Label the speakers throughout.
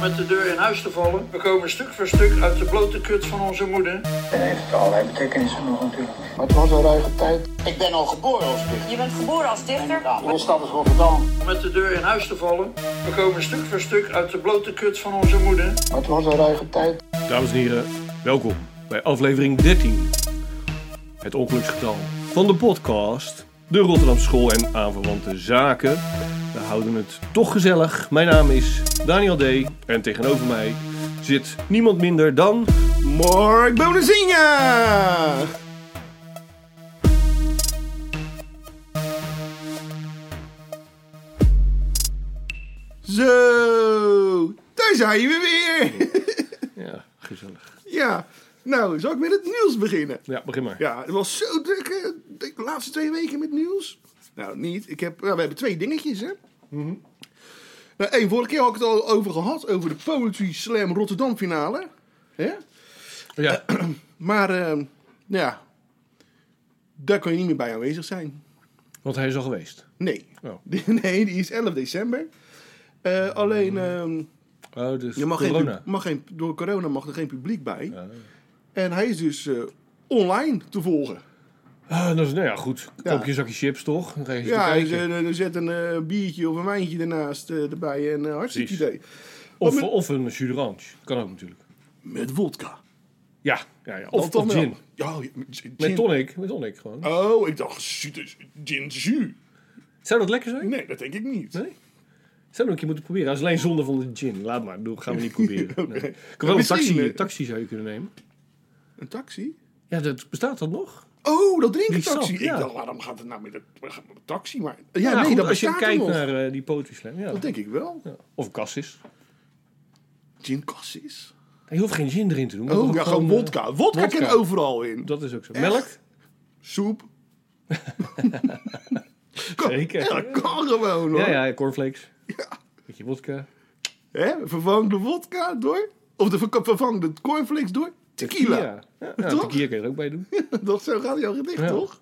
Speaker 1: met de deur in huis te vallen. We komen stuk voor stuk uit de blote kut van onze moeder.
Speaker 2: En heeft het allerlei betekenissen nog natuurlijk.
Speaker 3: Maar het was een ruige tijd.
Speaker 4: Ik ben al geboren als dichter. nou,
Speaker 5: Je bent geboren als dichter?
Speaker 4: Ja, mijn stad is Rotterdam.
Speaker 1: Met de deur in huis te vallen. We komen stuk voor stuk uit de blote kut van onze moeder.
Speaker 3: Maar het was een ruige tijd.
Speaker 6: Dames en heren, welkom bij aflevering 13. Het ongeluksgetal van de podcast De Rotterdam School en aanverwante zaken. We houden het toch gezellig. Mijn naam is Daniel D. En tegenover mij zit niemand minder dan...
Speaker 7: Mark Bonazinha! Zo, daar zijn we weer!
Speaker 6: Ja, gezellig.
Speaker 7: ja, nou, zal ik met het nieuws beginnen?
Speaker 6: Ja, begin maar.
Speaker 7: Ja, het was zo druk hè, de laatste twee weken met nieuws. Nou, niet. Ik heb, nou, we hebben twee dingetjes, hè. Nou, één, vorige keer had ik het al over gehad, over de Poetry Slam Rotterdam finale. Hè?
Speaker 6: Ja,
Speaker 7: Maar, ehm, ja, daar kan je niet meer bij aanwezig zijn.
Speaker 6: want hij is al geweest.
Speaker 7: Nee.
Speaker 6: Oh.
Speaker 7: Nee, die is 11 december. Eh, alleen, ehm,
Speaker 6: Oh, dus
Speaker 7: je mag
Speaker 6: corona.
Speaker 7: Geen, pub- mag geen, door corona mag er geen publiek bij. En hij is dus eh, online te volgen.
Speaker 6: Ah, dat is, nou ja, goed.
Speaker 7: Ja.
Speaker 6: Koop je een zakje chips, toch? Dan ga je
Speaker 7: Ja,
Speaker 6: ja,
Speaker 7: dus, eh, er zit een eh, biertje of een wijntje ernaast eh, erbij en eh, hartstikke
Speaker 6: Precies.
Speaker 7: idee.
Speaker 6: of,
Speaker 7: met-
Speaker 6: of een jus d'orange. Kan ook natuurlijk.
Speaker 7: Met vodka.
Speaker 6: Ja, ja, ja. Of,
Speaker 7: toch
Speaker 6: of gin.
Speaker 7: Ja, ja, met gin.
Speaker 6: Met tonic. Met tonic gewoon.
Speaker 7: Oh, ik dacht zuur- gin jus.
Speaker 6: Zou dat lekker zijn?
Speaker 7: Nee, dat denk ik niet.
Speaker 6: Nee? Zou we een keer moeten proberen. Dat is alleen zonde van de gin. Laat maar. Dat gaan we niet proberen. Nee. Ik kan wel een
Speaker 7: Misschien,
Speaker 6: taxi,
Speaker 7: eh.
Speaker 6: een taxi zou je kunnen nemen.
Speaker 7: Een taxi?
Speaker 6: Ja, dat bestaat dat nog?
Speaker 7: Oh, dat drinkt een
Speaker 6: Die
Speaker 7: taxi.
Speaker 6: sap, ja.
Speaker 7: Ik dacht, waarom gaat het nou met een taxi? Maar, ja,
Speaker 6: Nou,
Speaker 7: nee,
Speaker 6: goed,
Speaker 7: dat
Speaker 6: Als je
Speaker 7: bestaat er
Speaker 6: kijkt
Speaker 7: nog.
Speaker 6: naar eh, die poetry slam. Ja.
Speaker 7: Dat denk ik wel.
Speaker 6: Ja. Of kassis.
Speaker 7: Gin cassis.
Speaker 6: Je hoeft geen gin erin te doen.
Speaker 7: Oh,
Speaker 6: Dat
Speaker 7: ja,
Speaker 6: is
Speaker 7: gewoon
Speaker 6: eh,
Speaker 7: wodka. Wodka
Speaker 6: wodka.
Speaker 7: kan overal in.
Speaker 6: Dat is ook zo.
Speaker 7: Echt?
Speaker 6: Melk?
Speaker 7: Soep.
Speaker 6: Zeker.
Speaker 7: Ja, dat kan gewoon hoor.
Speaker 6: Ja, ja, cornflakes. Beetje wodka.
Speaker 7: Hè? Vervang de wodka door. Of de, verk- vervang de cornflakes door. Tequila.
Speaker 6: Ja, ja
Speaker 7: Toch?
Speaker 6: tequila kun je er ook bij doen.
Speaker 7: Dat zo gaat jouw gedicht,
Speaker 6: Ja.
Speaker 7: toch?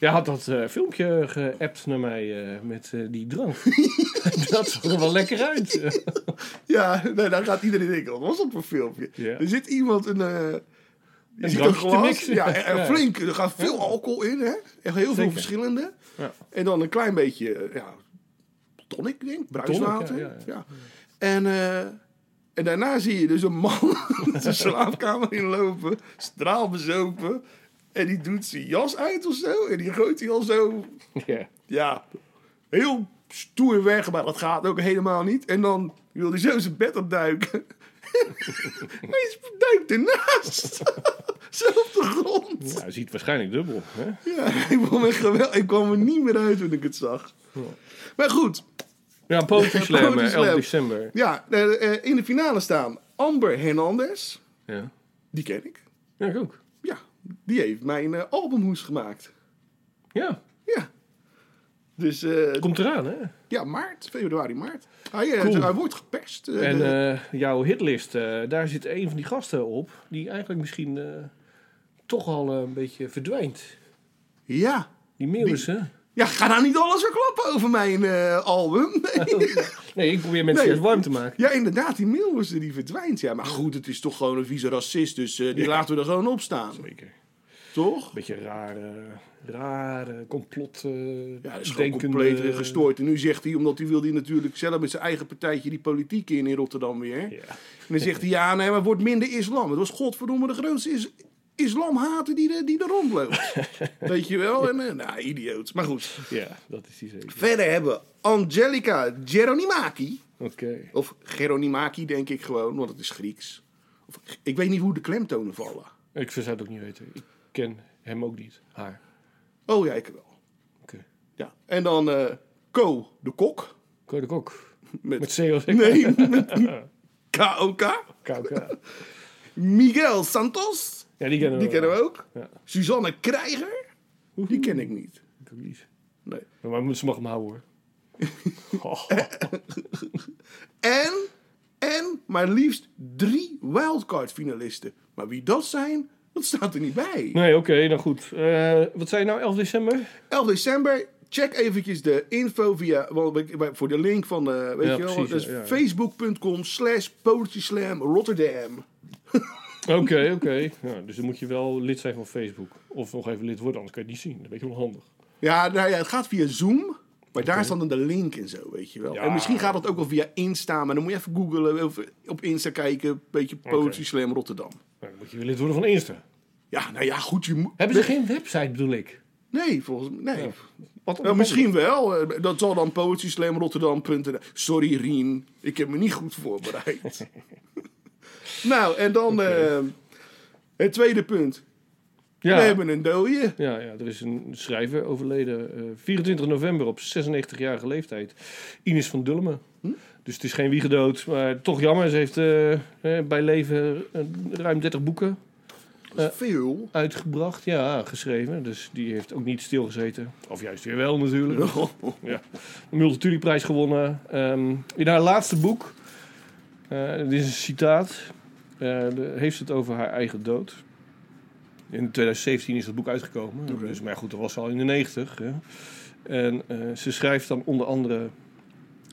Speaker 6: Jij had dat eh, filmpje geappt naar mij eh, met eh, die drank. dat zag er wel lekker uit.
Speaker 7: Ja, nee, dan gaat iedereen denken, wat was dat voor filmpje?
Speaker 6: Ja.
Speaker 7: Er zit iemand een... eh je ziet
Speaker 6: drankje te
Speaker 7: glas.
Speaker 6: mixen.
Speaker 7: Ja, en, en
Speaker 6: Ja.
Speaker 7: flink. Er gaat veel alcohol in, hè? Echt heel veel
Speaker 6: Zeker.
Speaker 7: verschillende.
Speaker 6: Ja.
Speaker 7: En dan een klein beetje, eh, ja, tonic, denk ik. Bruiswater.
Speaker 6: ja,
Speaker 7: Ja,
Speaker 6: ja,
Speaker 7: En, eh, en daarna zie je dus een man de slaapkamer inlopen, straalbezopen. En die doet zijn jas uit of zo. En die gooit hij al zo
Speaker 6: ja.
Speaker 7: ja, heel stoer weg, maar dat gaat ook helemaal niet. En dan wil hij zo zijn bed opduiken. hij duikt ernaast. zo op de grond.
Speaker 6: Ja, hij Nou, ziet waarschijnlijk dubbel. Hè?
Speaker 7: Ja, ik kwam, echt gewel- ik kwam er niet meer uit toen ik het zag. Maar goed,
Speaker 6: Ja, Poetry Slam,
Speaker 7: Poetry
Speaker 6: eh, 11
Speaker 7: Slam.
Speaker 6: december.
Speaker 7: ja, eh, eh, in de finale staan Amber Hernandez.
Speaker 6: Ja.
Speaker 7: Die ken ik.
Speaker 6: ja, ik ook.
Speaker 7: Ja, die heeft mijn eh, albumhoes gemaakt.
Speaker 6: Ja,
Speaker 7: Ja. Dus eh,
Speaker 6: komt eraan, hè?
Speaker 7: ja, maart, februari, maart. Hij, eh,
Speaker 6: Cool.
Speaker 7: hij wordt geperst. eh,
Speaker 6: En
Speaker 7: de-
Speaker 6: eh, jouw hitlist, eh, daar zit een van die gasten op... die eigenlijk misschien eh, toch al eh, een beetje verdwijnt.
Speaker 7: ja.
Speaker 6: Die Meeuwissen.
Speaker 7: Ja, ga nou niet alles verklappen over mijn eh, album.
Speaker 6: Oh,
Speaker 7: Nee.
Speaker 6: Nee, ik probeer mensen
Speaker 7: Nee.
Speaker 6: juist warm te maken.
Speaker 7: Ja, inderdaad, die Milwers die verdwijnt. Ja, maar goed, het is toch gewoon een vieze racist, dus eh, die laten we er gewoon op staan.
Speaker 6: Zeker.
Speaker 7: Toch?
Speaker 6: Beetje rare, rare complot... eh
Speaker 7: Ja, dat is gewoon
Speaker 6: denkende-
Speaker 7: compleet gestoord. En nu zegt hij, omdat hij wilde hij natuurlijk zelf met zijn eigen partijtje die politiek in in Rotterdam weer.
Speaker 6: Ja.
Speaker 7: En dan zegt hij, ja, nee, maar het wordt minder islam. Het was godverdomme de grootste is islamhater die, er- die er rondloopt. Weet je wel? En, eh, nou, idioot. Maar goed.
Speaker 6: ja, dat is die zeker.
Speaker 7: Verder hebben we Angelica Geronimaki.
Speaker 6: Oké.
Speaker 7: Of Geronimaki, denk ik gewoon, want het is Grieks. Of, ik weet niet hoe de klemtonen vallen.
Speaker 6: Ik zou het ook niet weten. Ik ken hem ook niet. Haar.
Speaker 7: Oh ja, ik wel.
Speaker 6: Oké.
Speaker 7: Ja. En dan eh, Ko de Kok.
Speaker 6: Code Kok.
Speaker 7: Met,
Speaker 6: Met COC.
Speaker 7: Nee, met KOK.
Speaker 6: KOK.
Speaker 7: Miguel Santos.
Speaker 6: Ja, die kennen we wel.
Speaker 7: Die kennen we ook.
Speaker 6: Ja.
Speaker 7: Suzanne Krijger. Die ken ik niet.
Speaker 6: Ik ook niet.
Speaker 7: Nee.
Speaker 6: Maar ze mag hem houden hoor. Oh,
Speaker 7: En, en maar liefst drie wildcard finalisten. Maar wie dat zijn, dat staat er niet bij.
Speaker 6: Nee, oké, nou goed. Eh, wat zei je nou, 11 december?
Speaker 7: 11 december, Check eventjes de info via, wel, we- we- voor de link van de, weet
Speaker 6: Ja,
Speaker 7: je wel,
Speaker 6: precies,
Speaker 7: dus
Speaker 6: ja, ja.
Speaker 7: facebook.com slash poëtieslam Rotterdam.
Speaker 6: Oké, oké. Ja, dus dan moet je wel lid zijn van Facebook. Of nog even lid worden, anders kan je het niet zien. Dat is een beetje onhandig.
Speaker 7: Ja, nou ja, het gaat via Zoom. Maar daar staat dan de link en zo, weet je wel.
Speaker 6: Ja.
Speaker 7: En misschien gaat dat ook wel via Insta, maar dan moet je even googlen of op Insta kijken. Een beetje Poetry Slam Rotterdam.
Speaker 6: Nou, dan moet je weer lid worden van Insta.
Speaker 7: Ja, nou ja, goed. Je moet-
Speaker 6: Hebben ze geen website, bedoel ik?
Speaker 7: Nee, volgens mij. Nee.
Speaker 6: Wat
Speaker 7: Nou, misschien wel. eh, Dat zal dan poëtieslamrotterdam.nl. Sorry, Rien. Ik heb me niet goed voorbereid. nou, en dan eh, het tweede punt.
Speaker 6: Ja.
Speaker 7: We hebben een dode.
Speaker 6: Ja, ja, er is een schrijver overleden eh, 24 november op 96-jarige leeftijd. Ines van Dulmen. Dus het is geen wiegedood, maar toch jammer. Ze heeft eh, eh, bij leven eh, ruim 30 boeken
Speaker 7: Eh. Veel.
Speaker 6: uitgebracht, ja, geschreven. Dus die heeft ook niet stilgezeten. Of juist weer wel natuurlijk. Ja. De Multitudiprijs gewonnen. Ehm, in haar laatste boek, eh, dit is een citaat, eh, de- heeft ze het over haar eigen dood. In 2017 is dat boek uitgekomen. Dus, maar goed, dat was al in de 90. Hè. En eh, ze schrijft dan onder andere...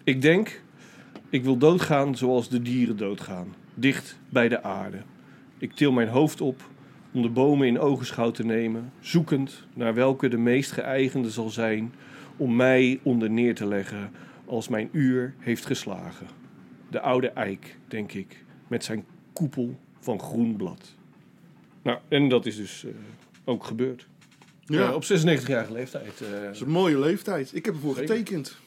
Speaker 6: Ik denk, ik wil doodgaan zoals de dieren doodgaan. Dicht bij de aarde. Ik til mijn hoofd op om de bomen in ogenschouw te nemen, zoekend naar welke de meest geëigende zal zijn om mij onder neer te leggen als mijn uur heeft geslagen. De oude eik, denk ik, met zijn koepel van groen blad. Nou, en dat is dus eh, ook gebeurd.
Speaker 7: Ja,
Speaker 6: Eh, op 96-jarige leeftijd. eh,
Speaker 7: dat is een mooie leeftijd. Ik heb ervoor
Speaker 6: Zeker.
Speaker 7: getekend.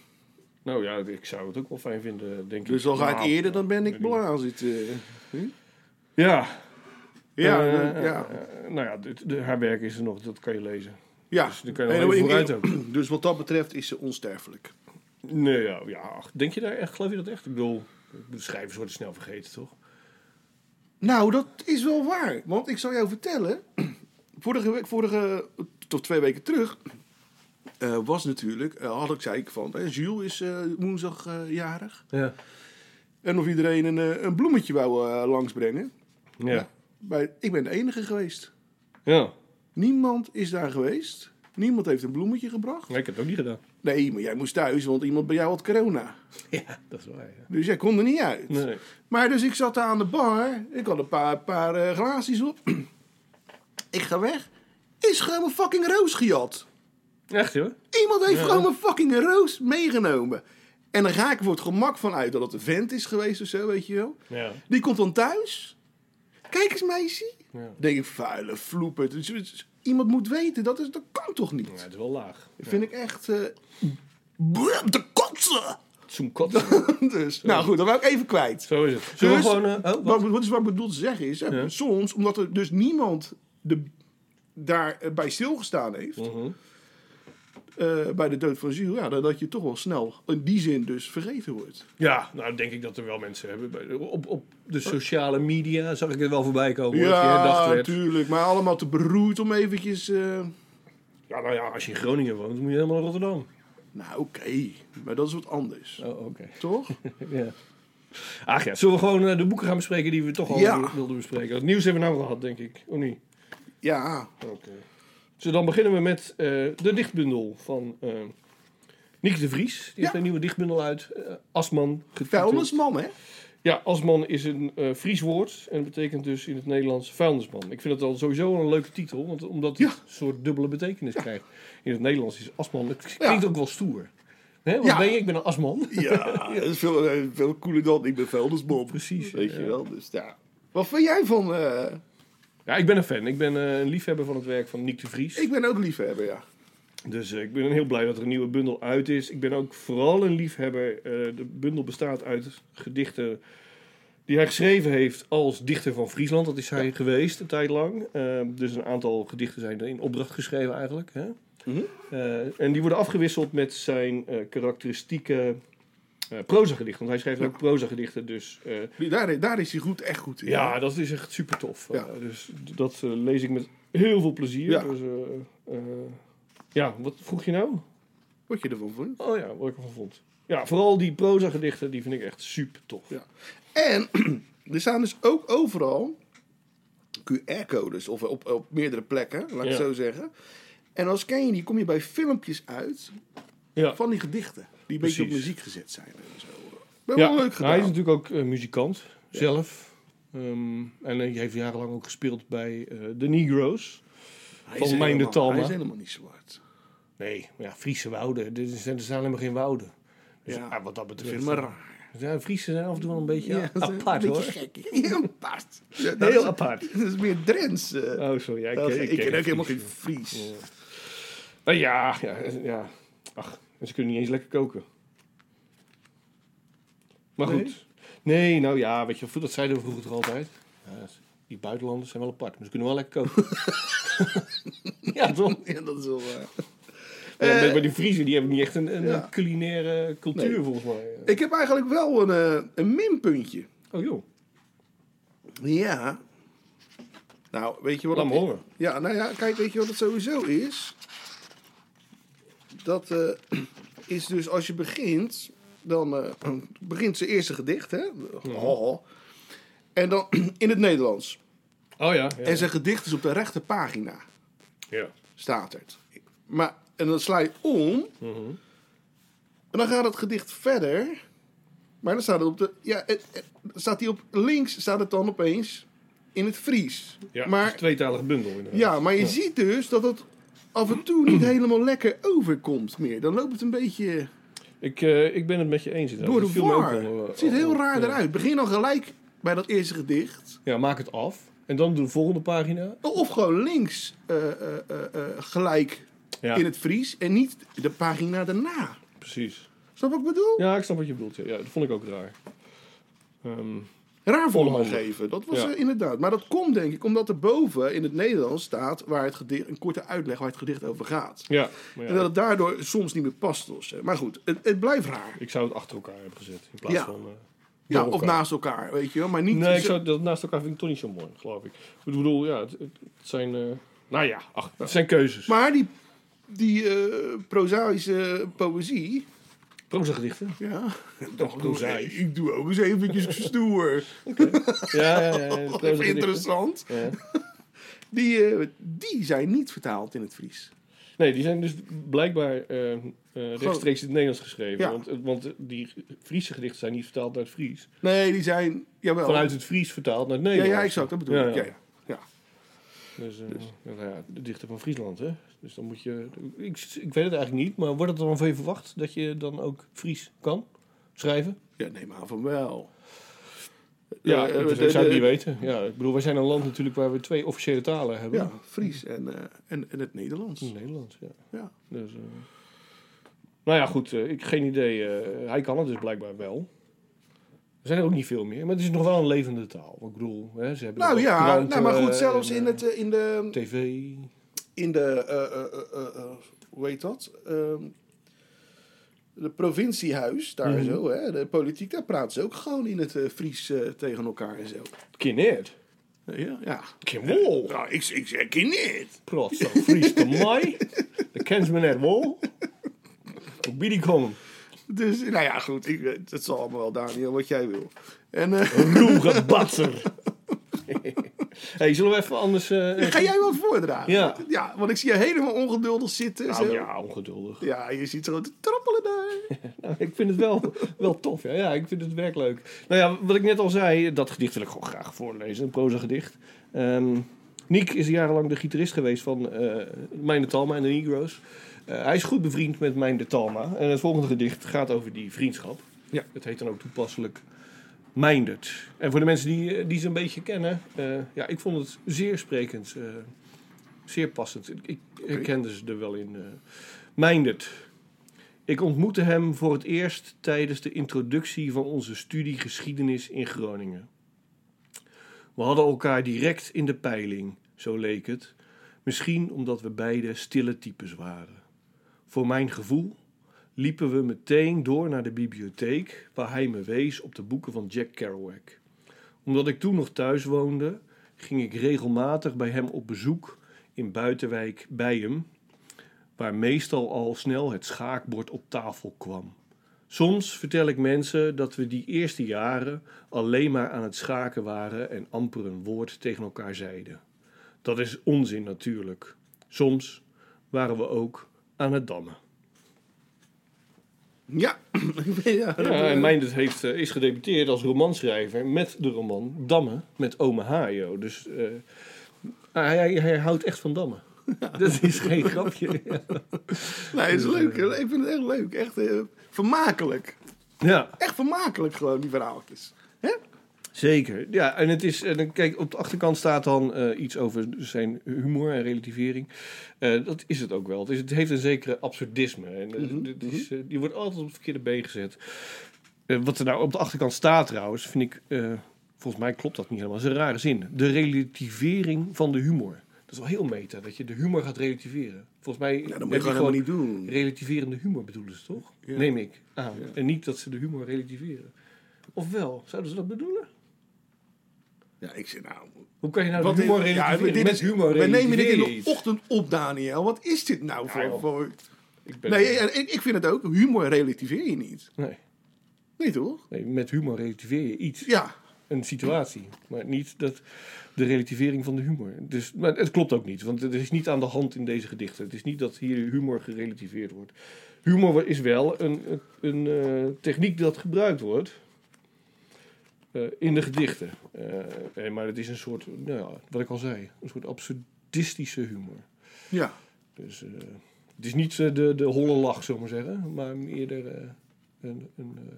Speaker 6: nou ja, ik zou het ook wel fijn vinden, denk ik.
Speaker 7: Dus al ga ik
Speaker 6: Nou,
Speaker 7: eerder, dan ben ik
Speaker 6: weet niet.
Speaker 7: blaar zitten.
Speaker 6: Ja,
Speaker 7: Ja,
Speaker 6: eh,
Speaker 7: eh, ja.
Speaker 6: eh, nou ja, dit- de- haar werk is er nog, dat kan je lezen.
Speaker 7: ja.
Speaker 6: Dus dan kan je
Speaker 7: En
Speaker 6: nog even
Speaker 7: in-
Speaker 6: vooruit
Speaker 7: in-
Speaker 6: ook.
Speaker 7: Dus wat dat betreft is ze onsterfelijk.
Speaker 6: Nee, ja, ja, ach, denk je daar echt, geloof je dat echt? Ik bedoel, de schrijvers worden snel vergeten, toch?
Speaker 7: Nou, dat is wel waar. Want ik zal jou vertellen. Vorige week, vorige, tot twee weken terug. eh, was natuurlijk, eh, had ik, zei ik van. eh, Jules is eh, woensdag eh, jarig.
Speaker 6: Ja.
Speaker 7: En of iedereen een, eh, een bloemetje wou eh, langsbrengen.
Speaker 6: Ja.
Speaker 7: Maar ik ben de enige geweest.
Speaker 6: Ja.
Speaker 7: Niemand is daar geweest. Niemand heeft een bloemetje gebracht.
Speaker 6: Maar ik heb het ook niet gedaan.
Speaker 7: Nee, maar jij moest thuis, want iemand bij jou had corona.
Speaker 6: Ja, dat is waar. Ja.
Speaker 7: Dus jij kon er niet uit.
Speaker 6: Nee.
Speaker 7: Maar dus ik zat daar aan de bar. Ik had een paar, paar eh, glaasjes op. ik ga weg. Is gewoon mijn fucking roos gejat.
Speaker 6: Echt, hoor?
Speaker 7: Iemand heeft gewoon mijn fucking roos meegenomen. En dan ga ik er voor het gemak van uit dat het een vent is geweest of zo, weet je wel.
Speaker 6: Ja.
Speaker 7: Die komt dan thuis. Kijk eens, meisje.
Speaker 6: Ja.
Speaker 7: Denk ik, vuile vloepen. Dus- dus Iemand moet weten, dat, is, dat kan toch niet?
Speaker 6: ja. Het is wel laag.
Speaker 7: Dat vind ik echt... eh brr, de kotsen!
Speaker 6: Zo'n kot.
Speaker 7: dus, nou goed, dat wou ik even kwijt.
Speaker 6: Zo is het. Zullen we
Speaker 7: Dus,
Speaker 6: gewoon... eh, oh,
Speaker 7: wat,
Speaker 6: wat?
Speaker 7: wat is wat ik bedoel te zeggen is, hè,
Speaker 6: Ja.
Speaker 7: soms, omdat er dus niemand de, daar eh, bij stilgestaan heeft,
Speaker 6: Mhm.
Speaker 7: eh, bij de dood van Gilles, ja, dat, dat je toch wel snel in die zin dus vergeten wordt.
Speaker 6: Ja, nou denk ik dat er wel mensen hebben. bij- Op, op de sociale media zag ik het wel voorbij komen. hoor, dat je herdacht
Speaker 7: ja,
Speaker 6: werd.
Speaker 7: natuurlijk, maar allemaal te beroerd om eventjes... eh,
Speaker 6: Ja, nou ja, als je in Groningen woont, moet je helemaal naar Rotterdam.
Speaker 7: nou, oké, maar dat is wat anders.
Speaker 6: Oh, oké.
Speaker 7: Toch?
Speaker 6: Ja. Ach ja, zullen we gewoon eh, de boeken gaan bespreken die we toch al
Speaker 7: Ja.
Speaker 6: wil- wilden bespreken? Het nieuws hebben we nou gehad, denk ik. Of niet?
Speaker 7: Ja,
Speaker 6: Oké. Dus dan beginnen we met eh, de dichtbundel van eh Nick de Vries. Die heeft een nieuwe dichtbundel uit. eh, Asman. getiteld.
Speaker 7: vuilnisman, hè?
Speaker 6: Ja, Asman is een eh Fries woord en betekent dus in het Nederlands vuilnisman. Ik vind dat al sowieso een leuke titel, want, omdat die
Speaker 7: Ja.
Speaker 6: een soort dubbele betekenis krijgt. In het Nederlands is Asman, het klinkt
Speaker 7: Ja.
Speaker 6: ook wel stoer. Hè, wat
Speaker 7: Ja.
Speaker 6: ben je? Ik ben een Asman.
Speaker 7: Ja, dat is veel, eh, veel cooler dan ik ben vuilnisman.
Speaker 6: Precies,
Speaker 7: Weet je
Speaker 6: ja.
Speaker 7: wel, dus ja. Wat vind jij van... eh,
Speaker 6: Ja, ik ben een fan. Ik ben eh, een liefhebber van het werk van Nick de Vries.
Speaker 7: ik ben ook liefhebber, ja.
Speaker 6: Dus eh, ik ben heel blij dat er een nieuwe bundel uit is. Ik ben ook vooral een liefhebber. Eh, de bundel bestaat uit gedichten die hij geschreven heeft als dichter van Friesland. Dat is hij geweest een tijd lang. Eh, dus een aantal gedichten zijn er in opdracht geschreven eigenlijk. Hè?
Speaker 7: Mhm.
Speaker 6: Eh, en die worden afgewisseld met zijn eh, karakteristieke eh proza-gedichten. Want hij schrijft ook proza-gedichten, dus... eh,
Speaker 7: Daar, daar is hij goed, echt goed in.
Speaker 6: ja, dat is echt super tof.
Speaker 7: Ja.
Speaker 6: Eh, dus d- dat eh, lees ik met heel veel plezier.
Speaker 7: Ja.
Speaker 6: Dus, eh, eh, ja, wat vroeg je nou?
Speaker 7: Wat je ervan vond.
Speaker 6: Oh ja, wat ik ervan vond. Ja, vooral die proza gedichten, die vind ik echt super tof.
Speaker 7: Ja. En er staan dus ook overal QR-codes. Of op, op meerdere plekken, laat ik
Speaker 6: Ja.
Speaker 7: het zo zeggen. En als Kanye kom je bij filmpjes uit
Speaker 6: Ja.
Speaker 7: van die gedichten. Die een beetje op
Speaker 6: Precies.
Speaker 7: muziek gezet zijn. En zo. Ben
Speaker 6: Ja,
Speaker 7: wel leuk gedaan.
Speaker 6: Hij is natuurlijk ook eh, muzikant zelf. Ehm, en hij heeft jarenlang ook gespeeld bij eh de Negroes.
Speaker 7: Hij
Speaker 6: van
Speaker 7: is
Speaker 6: Mijn de
Speaker 7: helemaal-
Speaker 6: Talma.
Speaker 7: Hij is helemaal niet zwart.
Speaker 6: Nee, maar ja, Friese wouden. Er zijn er zijn helemaal geen wouden. Dus
Speaker 7: Ja.
Speaker 6: ah, wat dat
Speaker 7: Ik
Speaker 6: betreft.
Speaker 7: vind het maar raar.
Speaker 6: Ja, Friese zijn af en toe wel een beetje
Speaker 7: Ja, dat is een
Speaker 6: apart
Speaker 7: beetje
Speaker 6: hoor.
Speaker 7: gek. Ja, apart. Ja, dat
Speaker 6: Heel
Speaker 7: is-
Speaker 6: apart.
Speaker 7: Dat is meer Drents. eh.
Speaker 6: Oh, sorry. Ja, ik,
Speaker 7: ik,
Speaker 6: ken- ik,
Speaker 7: ken ook
Speaker 6: ken
Speaker 7: helemaal geen
Speaker 6: Friese.
Speaker 7: Fries.
Speaker 6: Nou ja, ja, ja. Ach, en ze kunnen niet eens lekker koken. Maar
Speaker 7: Nee?
Speaker 6: goed. Nee, nou ja, weet je, vro- dat zeiden we vroeger toch altijd. Ja, die buitenlanders zijn wel apart, maar ze kunnen wel lekker koken. ja, toch?
Speaker 7: Ja, dat is wel waar.
Speaker 6: Ja,
Speaker 7: Eh,
Speaker 6: maar- maar die Friesen, die hebben niet echt een, een
Speaker 7: ja.
Speaker 6: culinaire cultuur,
Speaker 7: Nee.
Speaker 6: volgens mij.
Speaker 7: Ik heb eigenlijk wel een, eh, een minpuntje.
Speaker 6: Oh joh,
Speaker 7: Ja. Nou, weet je wat...
Speaker 6: laat me
Speaker 7: dat-
Speaker 6: horen.
Speaker 7: Ja, nou ja, kijk, weet je wat het sowieso is? Dat eh, is dus als je begint, dan eh, begint zijn eerste gedicht, hè? Oh. En dan in het Nederlands.
Speaker 6: Oh ja, ja.
Speaker 7: En zijn gedicht is op de rechte pagina,
Speaker 6: ja.
Speaker 7: staat het. Maar, en dan sla je om.
Speaker 6: Mhm.
Speaker 7: En dan gaat het gedicht verder. Maar dan staat het op de... Ja, het- het- staat die op links, staat het dan opeens in het Fries.
Speaker 6: Ja,
Speaker 7: maar,
Speaker 6: het is een tweetalige bundel inderdaad.
Speaker 7: ja, maar je ziet dus dat het af en toe niet helemaal lekker overkomt meer. Dan loopt het een beetje
Speaker 6: Ik, eh, ik ben het met je eens inderdaad.
Speaker 7: door
Speaker 6: Het
Speaker 7: de
Speaker 6: viel me ook
Speaker 7: war.
Speaker 6: wel, eh,
Speaker 7: Het ziet heel
Speaker 6: op.
Speaker 7: raar
Speaker 6: Ja.
Speaker 7: eruit. Begin dan gelijk bij dat eerste gedicht.
Speaker 6: Ja, maak het af. En dan de volgende pagina.
Speaker 7: Of gewoon links eh, eh, eh, eh, gelijk
Speaker 6: Ja,
Speaker 7: in het Fries en niet de pagina daarna.
Speaker 6: precies.
Speaker 7: Snap wat ik bedoel?
Speaker 6: Ja, ik snap wat je bedoelt. Ja, Ja, dat vond ik ook raar. Ehm,
Speaker 7: Raar vorm
Speaker 6: Onhandig.
Speaker 7: gegeven. Dat was
Speaker 6: Ja.
Speaker 7: eh, inderdaad. Maar dat komt denk ik omdat er boven in het Nederlands staat waar het gedicht, een korte uitleg waar het gedicht over gaat.
Speaker 6: ja, maar
Speaker 7: En dat
Speaker 6: ja,
Speaker 7: het daardoor soms niet meer past. of zo. Maar goed, het, het blijft raar.
Speaker 6: ik zou het achter elkaar hebben gezet. In plaats
Speaker 7: Ja.
Speaker 6: van... eh,
Speaker 7: Ja,
Speaker 6: door
Speaker 7: of
Speaker 6: elkaar.
Speaker 7: naast elkaar, weet je wel. Maar niet
Speaker 6: Nee, ik
Speaker 7: zo-
Speaker 6: zou, dat naast elkaar vind ik toch niet zo mooi, geloof ik. Ik bedoel, ja, het, het zijn... eh, nou ja, ach, het zijn keuzes.
Speaker 7: Maar die, die eh, prozaïsche poëzie...
Speaker 6: Proza gedichten.
Speaker 7: Ja, dat
Speaker 6: prozaïs.
Speaker 7: Ik doe ook eens eventjes stoer.
Speaker 6: Oh, Ja, ja, ja. ja proza gedichten.
Speaker 7: Interessant.
Speaker 6: Ja.
Speaker 7: Die, eh, die zijn niet vertaald in het Fries.
Speaker 6: Nee, die zijn dus blijkbaar eh, eh, rechtstreeks in het Nederlands geschreven.
Speaker 7: Ja.
Speaker 6: Want, eh, want die Friese gedichten zijn niet vertaald naar het Fries.
Speaker 7: Nee, die zijn... Jawel.
Speaker 6: Vanuit het Fries vertaald naar het
Speaker 7: Ja,
Speaker 6: Nederlands.
Speaker 7: ja, exact. Dat bedoel
Speaker 6: Ja,
Speaker 7: ik.
Speaker 6: ja.
Speaker 7: Ja, ja. Ja.
Speaker 6: Dus, eh, ja, nou ja, de dichter van Friesland, hè? Dus dan moet je. Ik, ik weet het eigenlijk niet, maar wordt het dan van je verwacht dat je dan ook Fries kan schrijven?
Speaker 7: Ja, neem aan van wel.
Speaker 6: Ja,
Speaker 7: Eh,
Speaker 6: dat
Speaker 7: de-
Speaker 6: zou ik
Speaker 7: de-
Speaker 6: niet weten. Ja, ik bedoel, wij zijn een land natuurlijk waar we twee officiële talen hebben.
Speaker 7: Ja, Fries en, eh, en, en het Nederlands.
Speaker 6: In Nederland, ja.
Speaker 7: Ja.
Speaker 6: Dus, eh, nou ja, goed, eh, ik geen idee. eh, hij kan het dus blijkbaar wel. Er zijn er ook niet veel meer, maar het is nog wel een levende taal. Ik bedoel, hè, ze hebben
Speaker 7: Nou
Speaker 6: nog wel
Speaker 7: ja,
Speaker 6: kranten,
Speaker 7: nou, maar goed,
Speaker 6: eh,
Speaker 7: zelfs
Speaker 6: en,
Speaker 7: in,
Speaker 6: eh,
Speaker 7: het, eh, in de...
Speaker 6: TV.
Speaker 7: in de, eh, eh, eh, eh, eh, hoe heet dat? Ehm, de provinciehuis, daar
Speaker 6: Mhm.
Speaker 7: zo, hè, de politiek, daar praten ze ook gewoon in het eh, Fries eh, tegen elkaar en zo.
Speaker 6: Kineert.
Speaker 7: Ja, ja.
Speaker 6: Kimol.
Speaker 7: Nou, ik, ik zeg je niet.
Speaker 6: Protst, dat vriest de mij. Dat kent ze me net wel. Ik bied die komen.
Speaker 7: Dus, nou ja, goed, ik, weet- het zal allemaal wel, Daniel, wat jij wil. En, eh,
Speaker 6: Oh, Roege batser. hey, zullen we even anders... eh, even-
Speaker 7: ga jij wat voordragen?
Speaker 6: Ja.
Speaker 7: ja, want ik zie je helemaal ongeduldig zitten.
Speaker 6: Nou
Speaker 7: zo.
Speaker 6: ja, ongeduldig.
Speaker 7: Ja, je ziet zo te trappelen daar.
Speaker 6: Nou, ik vind het wel, wel tof. Ja. ja, ik vind het werk leuk. Nou ja, wat ik net al zei, dat gedicht wil ik gewoon graag voorlezen. Een proza gedicht. Nick is jarenlang de gitarist geweest van eh Mijn de Talma en de Negroes. Eh, hij is goed bevriend met Mijn de Talma. En het volgende gedicht gaat over die vriendschap.
Speaker 7: Ja.
Speaker 6: Het heet dan ook toepasselijk Mijndert. En voor de mensen die, eh, die ze een beetje kennen, eh, ja, ik vond het zeer sprekend, eh, zeer passend. Ik, ik herkende ze er wel in. eh Mijndert. Ik ontmoette hem voor het eerst tijdens de introductie van onze studie geschiedenis in Groningen. We hadden elkaar direct in de peiling, zo leek het. Misschien omdat we beide stille types waren. Voor mijn gevoel liepen we meteen door naar de bibliotheek, waar hij me wees op de boeken van Jack Kerouac. Omdat ik toen nog thuis woonde, ging ik regelmatig bij hem op bezoek in Buitenwijk bij hem, waar meestal al snel het schaakbord op tafel kwam. Soms vertel ik mensen dat we die eerste jaren alleen maar aan het schaken waren en amper een woord tegen elkaar zeiden. Dat is onzin natuurlijk. Soms waren we ook aan het dammen.
Speaker 7: Ja, ja, dat-
Speaker 6: Ja, en Meindert heeft, eh, is gedebuteerd als romanschrijver met de roman Dammen met Ome Hajo. Dus eh, hij, hij, hij houdt echt van dammen. Dat is geen grapje. Ja.
Speaker 7: nee, is leuk. hè. Ik vind het echt leuk. Echt eh, vermakelijk.
Speaker 6: ja,
Speaker 7: Echt vermakelijk gewoon, die verhaaltjes. Hè?
Speaker 6: zeker. Ja, en het is, en dan kijk, op de achterkant staat dan eh, iets over zijn humor en relativering. Eh, dat is het ook wel. Het, is, het heeft een zekere absurdisme. En, eh,
Speaker 7: Mhm,
Speaker 6: dit is, eh, die wordt altijd op het verkeerde been gezet. Eh, wat er nou op de achterkant staat trouwens, vind ik... eh, volgens mij klopt dat niet helemaal. Dat is een rare zin. De relativering van de humor. Dat is wel heel meta, dat je de humor gaat relativeren. Volgens mij
Speaker 7: dat moet je
Speaker 6: heb
Speaker 7: gewoon helemaal niet doen.
Speaker 6: relativerende humor bedoelen ze toch? Neem ik aan. En niet dat ze de humor relativeren. Ofwel, zouden ze dat bedoelen?
Speaker 7: Ja, ik zeg nou...
Speaker 6: Hoe kan je nou
Speaker 7: wat
Speaker 6: de
Speaker 7: is-
Speaker 6: humor relativeren?
Speaker 7: dit
Speaker 6: Met
Speaker 7: is-
Speaker 6: humor
Speaker 7: we nemen dit in
Speaker 6: relativeer je
Speaker 7: de
Speaker 6: iets.
Speaker 7: ochtend op, Daniel. Wat is dit nou
Speaker 6: joh.
Speaker 7: voor... voor...
Speaker 6: Ik ben-
Speaker 7: Nee, eh, en ik, ik vind het ook. Humor relativeer je niet.
Speaker 6: nee,
Speaker 7: Nee, toch?
Speaker 6: nee, met humor relativeer je iets.
Speaker 7: Ja.
Speaker 6: een situatie. Maar niet dat de relativering van de humor. Dus, maar het klopt ook niet, want het is niet aan de hand in deze gedichten. Het is niet dat hier humor gerelativeerd wordt. Humor is wel een, een eh, techniek dat gebruikt wordt eh, in de gedichten. Eh, eh, maar het is een soort, nou ja, wat ik al zei, een soort absurdistische humor.
Speaker 7: Ja.
Speaker 6: Dus eh, het is niet eh, de, de holle lach, zullen we maar zeggen, maar eerder eh, een, een eh,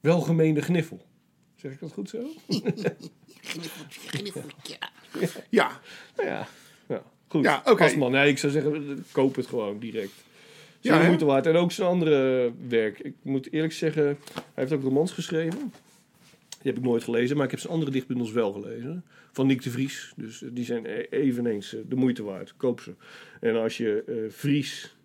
Speaker 6: welgemeende gniffel. Zeg ik dat goed zo?
Speaker 7: Ja.
Speaker 6: Ja, ja. goed.
Speaker 7: Ja,
Speaker 6: Ja,
Speaker 7: oké.
Speaker 6: man. Nee, ik zou zeggen, eh, koop het gewoon direct. Zeer
Speaker 7: Ja, hè?
Speaker 6: moeite waard. En ook zijn andere werk. Ik moet eerlijk zeggen, hij heeft ook romans geschreven. Die heb ik nooit gelezen, maar ik heb zijn andere dichtbundels wel gelezen. Van Nick de Vries. Dus eh, die zijn e- eveneens eh, de moeite waard. Koop ze. En als je eh, Vries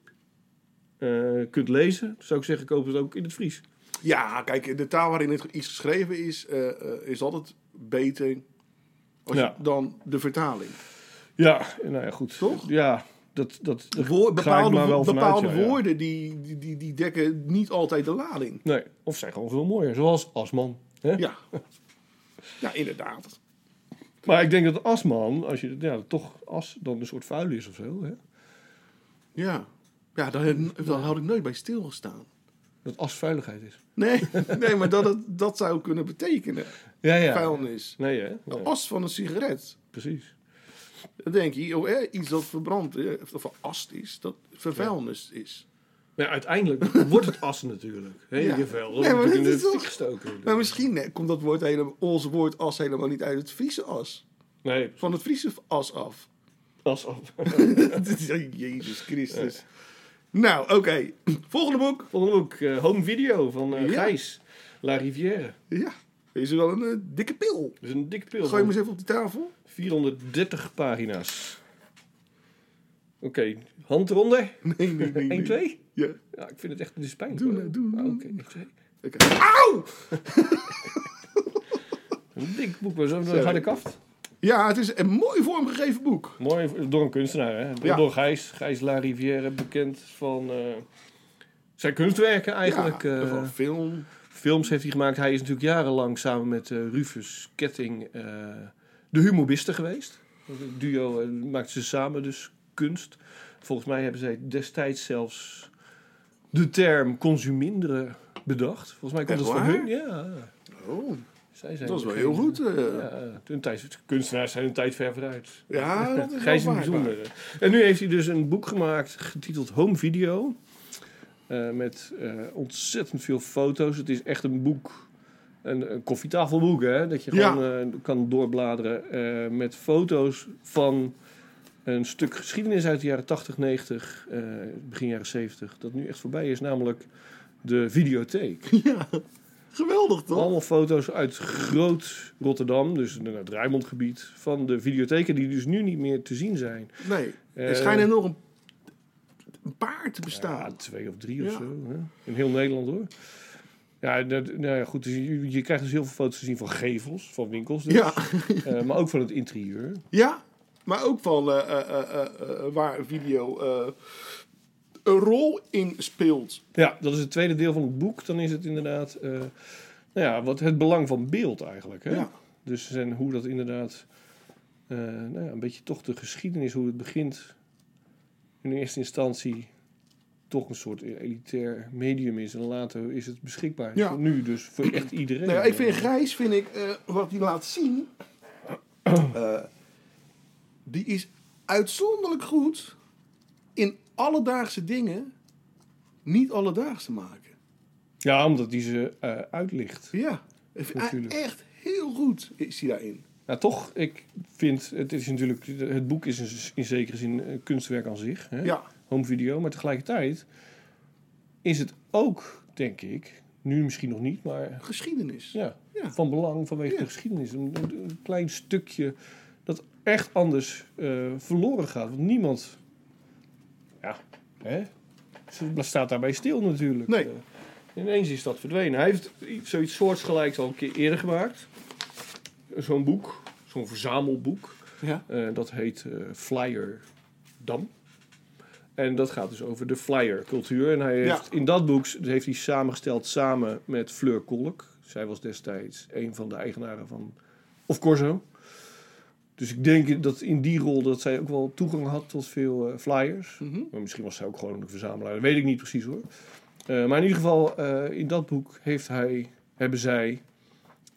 Speaker 6: eh, kunt lezen, zou ik zeggen, koop het ook in het Vries.
Speaker 7: Ja, kijk, de taal waarin het iets geschreven is, eh, eh, is altijd beter als je-
Speaker 6: Ja.
Speaker 7: dan de vertaling.
Speaker 6: Ja, nou ja, goed.
Speaker 7: Toch?
Speaker 6: Ja, dat, dat, dat
Speaker 7: Woor-
Speaker 6: ga ik
Speaker 7: bepaalde
Speaker 6: maar wel vanuit,
Speaker 7: bepaalde
Speaker 6: ja, ja.
Speaker 7: woorden Die, die- die, die dekken niet altijd de lading.
Speaker 6: Nee, of zijn gewoon veel mooier. Zoals Asman. Hè?
Speaker 7: Ja. Ja, inderdaad.
Speaker 6: Maar ik denk dat asman, als je ja, toch as dan een soort vuil is of zo. Hè?
Speaker 7: Ja. Ja, dan, dan had ik nooit bij stilgestaan.
Speaker 6: Dat as vuiligheid is.
Speaker 7: Nee, nee maar dat, het, dat zou kunnen betekenen.
Speaker 6: Ja, ja.
Speaker 7: Vuilnis.
Speaker 6: Nee, hè?
Speaker 7: De
Speaker 6: Ja,
Speaker 7: as van een sigaret.
Speaker 6: precies.
Speaker 7: Dan denk je, oh, eh, iets dat verbrand eh, of van ast is, dat vervuilnis is.
Speaker 6: Maar ja, uiteindelijk wordt het as natuurlijk. Hè?
Speaker 7: Ja.
Speaker 6: Je vuil.
Speaker 7: Nee,
Speaker 6: Dat
Speaker 7: maar
Speaker 6: wordt
Speaker 7: dit
Speaker 6: in de
Speaker 7: is toch-
Speaker 6: fik gestoken.
Speaker 7: Maar misschien eh, komt dat woord helemaal, ons woord as helemaal niet uit het Friese as.
Speaker 6: Nee,
Speaker 7: Van het Friese as af.
Speaker 6: as af.
Speaker 7: Jezus Christus. Nou, oké. Volgende boek.
Speaker 6: Volgende boek, eh, Home Video van eh
Speaker 7: Ja.
Speaker 6: Gijs. La Rivière.
Speaker 7: Ja. Oh. Is er wel een eh, dikke pil.
Speaker 6: Dat is een dikke pil.
Speaker 7: Gooi hem
Speaker 6: van
Speaker 7: eens even op de tafel.
Speaker 6: 430 pagina's. Oké, hand eronder.
Speaker 7: Nee, nee, nee.
Speaker 6: 1,
Speaker 7: nee.
Speaker 6: 2.
Speaker 7: Ja.
Speaker 6: Ja, ik vind het echt, dit is pijnlijk.
Speaker 7: Doe
Speaker 6: hoor.
Speaker 7: nou, doe,
Speaker 6: Ah,
Speaker 7: doe.
Speaker 6: Oké, één, twee.
Speaker 7: Oké. Auw!
Speaker 6: Een dik boek, maar zo'n harde kaft.
Speaker 7: Ja, het is een mooi vormgegeven boek.
Speaker 6: Mooi door een kunstenaar, hè?
Speaker 7: Ja.
Speaker 6: Door Gijs, Gijs La Rivière, bekend van eh, zijn kunstwerken eigenlijk.
Speaker 7: ja,
Speaker 6: eh,
Speaker 7: van film.
Speaker 6: films heeft hij gemaakt. Hij is natuurlijk jarenlang samen met eh, Rufus Ketting eh, de humoristen geweest. Het duo eh, maakten ze samen dus kunst. Volgens mij hebben zij destijds zelfs de term consuminderen bedacht. Volgens mij komt
Speaker 7: Echt
Speaker 6: dat van
Speaker 7: waar?
Speaker 6: hun. Ja,
Speaker 7: Oh,
Speaker 6: zij zijn
Speaker 7: dat is wel
Speaker 6: degene-
Speaker 7: heel goed. eh. Ja,
Speaker 6: Ja, hun tijd, kunstenaars zijn hun tijd ver vooruit.
Speaker 7: dat is
Speaker 6: Gijs is
Speaker 7: wel
Speaker 6: een
Speaker 7: waar.
Speaker 6: bijzondere. En nu heeft hij dus een boek gemaakt getiteld Home Video. Eh, met eh, ontzettend veel foto's. Het is echt een boek. Een, een koffietafelboek, hè? Dat je
Speaker 7: Ja.
Speaker 6: gewoon eh, kan doorbladeren. eh, met foto's van een stuk geschiedenis uit de jaren 80, 90, eh, begin jaren 70. Dat nu echt voorbij is, namelijk de videotheek.
Speaker 7: Geweldig toch?
Speaker 6: Allemaal foto's uit groot Rotterdam, dus in het Rijnmondgebied, van de videotheken die dus nu niet meer te zien zijn.
Speaker 7: Nee.
Speaker 6: Eh,
Speaker 7: er schijnen nog een, een paar te
Speaker 6: Ja,
Speaker 7: bestaan.
Speaker 6: twee of drie of
Speaker 7: Ja.
Speaker 6: zo. Hè? In heel Nederland hoor. Ja, dat, nou ja, goed. dus je, je krijgt dus heel veel foto's te zien van gevels, van winkels dus.
Speaker 7: Ja.
Speaker 6: Eh, maar ook van het interieur.
Speaker 7: Ja, maar ook van eh, eh, eh, eh, eh, waar video eh, een rol in speelt.
Speaker 6: Ja, dat is het tweede deel van het boek. Dan is het inderdaad eh, nou ja, wat het belang van beeld eigenlijk. Hè?
Speaker 7: Ja.
Speaker 6: Dus en hoe dat inderdaad, eh, nou ja, een beetje toch de geschiedenis, hoe het begint in eerste instantie toch een soort elitair medium is. En later is het beschikbaar.
Speaker 7: Ja.
Speaker 6: Voor Nu dus voor echt iedereen.
Speaker 7: Nou ja, ik vind Grijs, vind ik, eh, wat hij laat zien, eh, die is uitzonderlijk goed in alledaagse dingen niet alledaags te maken.
Speaker 6: Ja, omdat die ze eh, uitlicht.
Speaker 7: Ja, ik vind hij
Speaker 6: Natuurlijk.
Speaker 7: echt heel goed is hij daarin.
Speaker 6: Nou, toch, ik vind, het is natuurlijk, het boek is in, in zekere zin een kunstwerk aan zich. Hè?
Speaker 7: Ja.
Speaker 6: Home video, maar tegelijkertijd is het ook, denk ik, nu misschien nog niet, maar
Speaker 7: Geschiedenis.
Speaker 6: ja,
Speaker 7: Ja.
Speaker 6: van belang vanwege
Speaker 7: Ja.
Speaker 6: de geschiedenis. Een, een- een klein stukje dat echt anders eh, verloren gaat. Want niemand, ja, hè, ze staat daarbij stil natuurlijk.
Speaker 7: Nee.
Speaker 6: Eh, ineens is dat verdwenen. Hij heeft iets- zoiets soortgelijks al een keer eerder gemaakt. Zo'n boek, zo'n verzamelboek.
Speaker 7: Ja.
Speaker 6: Eh, dat heet eh, Flyer Dam. En dat gaat dus over de flyer-cultuur. En hij heeft in dat boek s- heeft hij samengesteld samen met Fleur Kolk. Zij was destijds een van de eigenaren van Of Corso. Dus ik denk dat in die rol dat zij ook wel toegang had tot veel eh, flyers. Maar misschien was zij ook gewoon een verzamelaar. Dat weet ik niet precies hoor. Eh, maar in ieder geval, eh, in dat boek heeft hij, hebben zij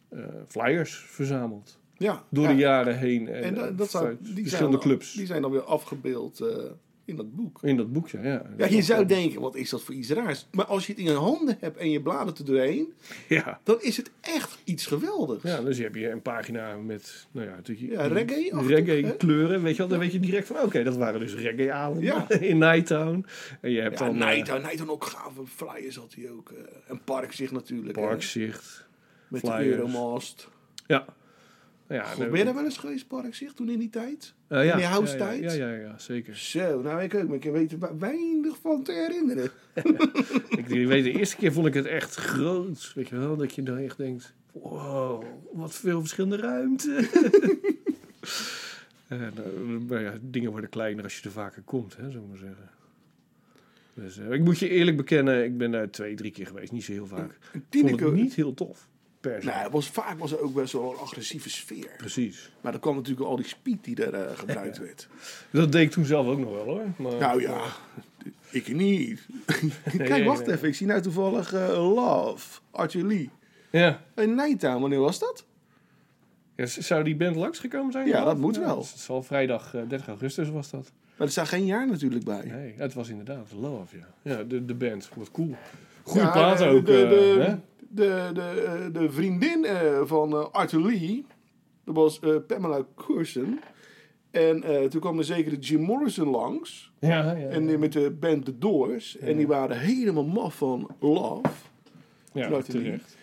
Speaker 6: eh, flyers verzameld.
Speaker 7: Ja.
Speaker 6: Door
Speaker 7: ja.
Speaker 6: de jaren heen. En,
Speaker 7: En da-
Speaker 6: eh,
Speaker 7: dat zijn,
Speaker 6: uit
Speaker 7: die zijn
Speaker 6: verschillende
Speaker 7: dan,
Speaker 6: clubs.
Speaker 7: Die zijn dan weer afgebeeld eh, in dat boek.
Speaker 6: In dat boekje, ja.
Speaker 7: Ja, je zou denken, wat is dat voor iets raars? Maar als je het in je handen hebt en je bladert er doorheen,
Speaker 6: Ja.
Speaker 7: dan is het echt iets geweldigs.
Speaker 6: Ja, dus heb je een pagina met, nou ja, natuurlijk
Speaker 7: Ja, reggae-achtig, hè?
Speaker 6: kleuren, weet je wel. Dan weet je direct van, oké, dat waren dus reggae-avonden
Speaker 7: Ja.
Speaker 6: in Nighttown. En je hebt
Speaker 7: Ja,
Speaker 6: dan eh,
Speaker 7: Nijtown, Nijtown ook gave flyers had hij ook. eh, en Parkzicht natuurlijk.
Speaker 6: Parkzicht.
Speaker 7: hè, met de
Speaker 6: flyers.
Speaker 7: Euromast.
Speaker 6: Ja. Ja,
Speaker 7: Ben je daar wel eens geweest, Parkzicht, toen in die tijd?
Speaker 6: Eh, ja.
Speaker 7: in die
Speaker 6: ja,
Speaker 7: house-tijd?
Speaker 6: Ja, ja, ja, ja, zeker.
Speaker 7: Zo, nou ik ook, maar ik weet er wa- weinig van te herinneren.
Speaker 6: ik ik weet, de eerste keer vond ik het echt groot, weet je wel. Dat je dan echt denkt, wow, wat veel verschillende ruimte. en, eh, maar ja, dingen worden kleiner als je er vaker komt, hè, zou ik maar zeggen. Dus, eh, ik moet je eerlijk bekennen, ik ben daar twee, drie keer geweest. Niet zo heel vaak. Ik vond
Speaker 7: Tineke-
Speaker 6: het niet heel tof, per se.
Speaker 7: Nou, het was, vaak was er ook best wel een agressieve sfeer.
Speaker 6: Precies.
Speaker 7: Maar dan kwam natuurlijk al die speed die er eh, gebruikt werd.
Speaker 6: Dat deed ik toen zelf ook nog wel, hoor. Maar,
Speaker 7: Nou ja, ik niet.
Speaker 6: nee,
Speaker 7: Kijk, wacht
Speaker 6: nee.
Speaker 7: even. Ik zie nou toevallig eh, Love, Arthur Lee.
Speaker 6: ja.
Speaker 7: In Nijtown, wanneer was dat?
Speaker 6: Ja, z- zou die band langsgekomen zijn?
Speaker 7: Ja, dat moet wel.
Speaker 6: Het is al vrijdag eh, 30 augustus was dat.
Speaker 7: Maar er staat geen jaar natuurlijk bij.
Speaker 6: Nee, het was inderdaad Love, ja. Ja, de, de band. Wat cool. Goede
Speaker 7: Ja,
Speaker 6: plaat
Speaker 7: eh,
Speaker 6: ook.
Speaker 7: De,
Speaker 6: eh,
Speaker 7: de,
Speaker 6: hè?
Speaker 7: de, de, eh, de vriendin eh, van eh, Arthur Lee, dat was eh, Pamela Curson. En eh, toen kwam er zeker de Jim Morrison langs.
Speaker 6: Ja, ja, ja.
Speaker 7: En die met de band The Doors. En die waren helemaal maf van Love.
Speaker 6: ja,
Speaker 7: Arthur Lee.
Speaker 6: terecht.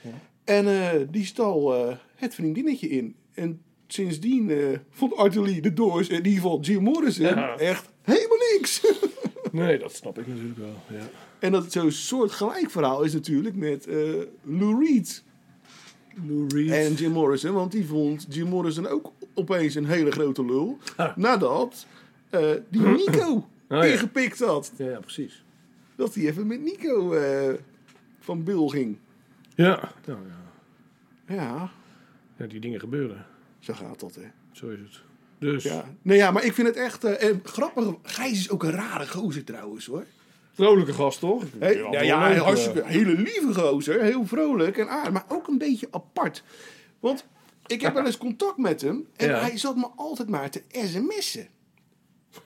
Speaker 7: En eh, die stal eh, het vriendinnetje in. En sindsdien eh, vond Arthur Lee The Doors en in ieder geval Jim Morrison
Speaker 6: Ja.
Speaker 7: echt helemaal niks.
Speaker 6: Nee, dat snap ik natuurlijk wel. Ja.
Speaker 7: en dat zo'n soortgelijk verhaal is natuurlijk met eh, Lou Reed.
Speaker 6: Lou Reed.
Speaker 7: En Jim Morrison, want die vond Jim Morrison ook opeens een hele grote lul.
Speaker 6: Ah. Oh,
Speaker 7: Nadat eh, die Nico
Speaker 6: ja.
Speaker 7: ingepikt had.
Speaker 6: Ja, ja, precies.
Speaker 7: Dat hij even met Nico eh, van Bill ging.
Speaker 6: Ja. Nou, ja.
Speaker 7: Ja,
Speaker 6: ja, die dingen gebeuren.
Speaker 7: zo gaat dat, hè.
Speaker 6: Zo is het. Dus.
Speaker 7: Ja. Nee, ja, maar ik vind het echt eh, en grappig. Gijs is ook een rare gozer trouwens, hoor.
Speaker 6: Vrolijke gast, toch?
Speaker 7: Hè? ja, ja, een hartstikke, hele lieve gozer. Heel vrolijk en aardig, maar ook een beetje apart. Want ik heb wel eens contact met hem en
Speaker 6: Ja.
Speaker 7: hij zat me altijd maar te sms'en.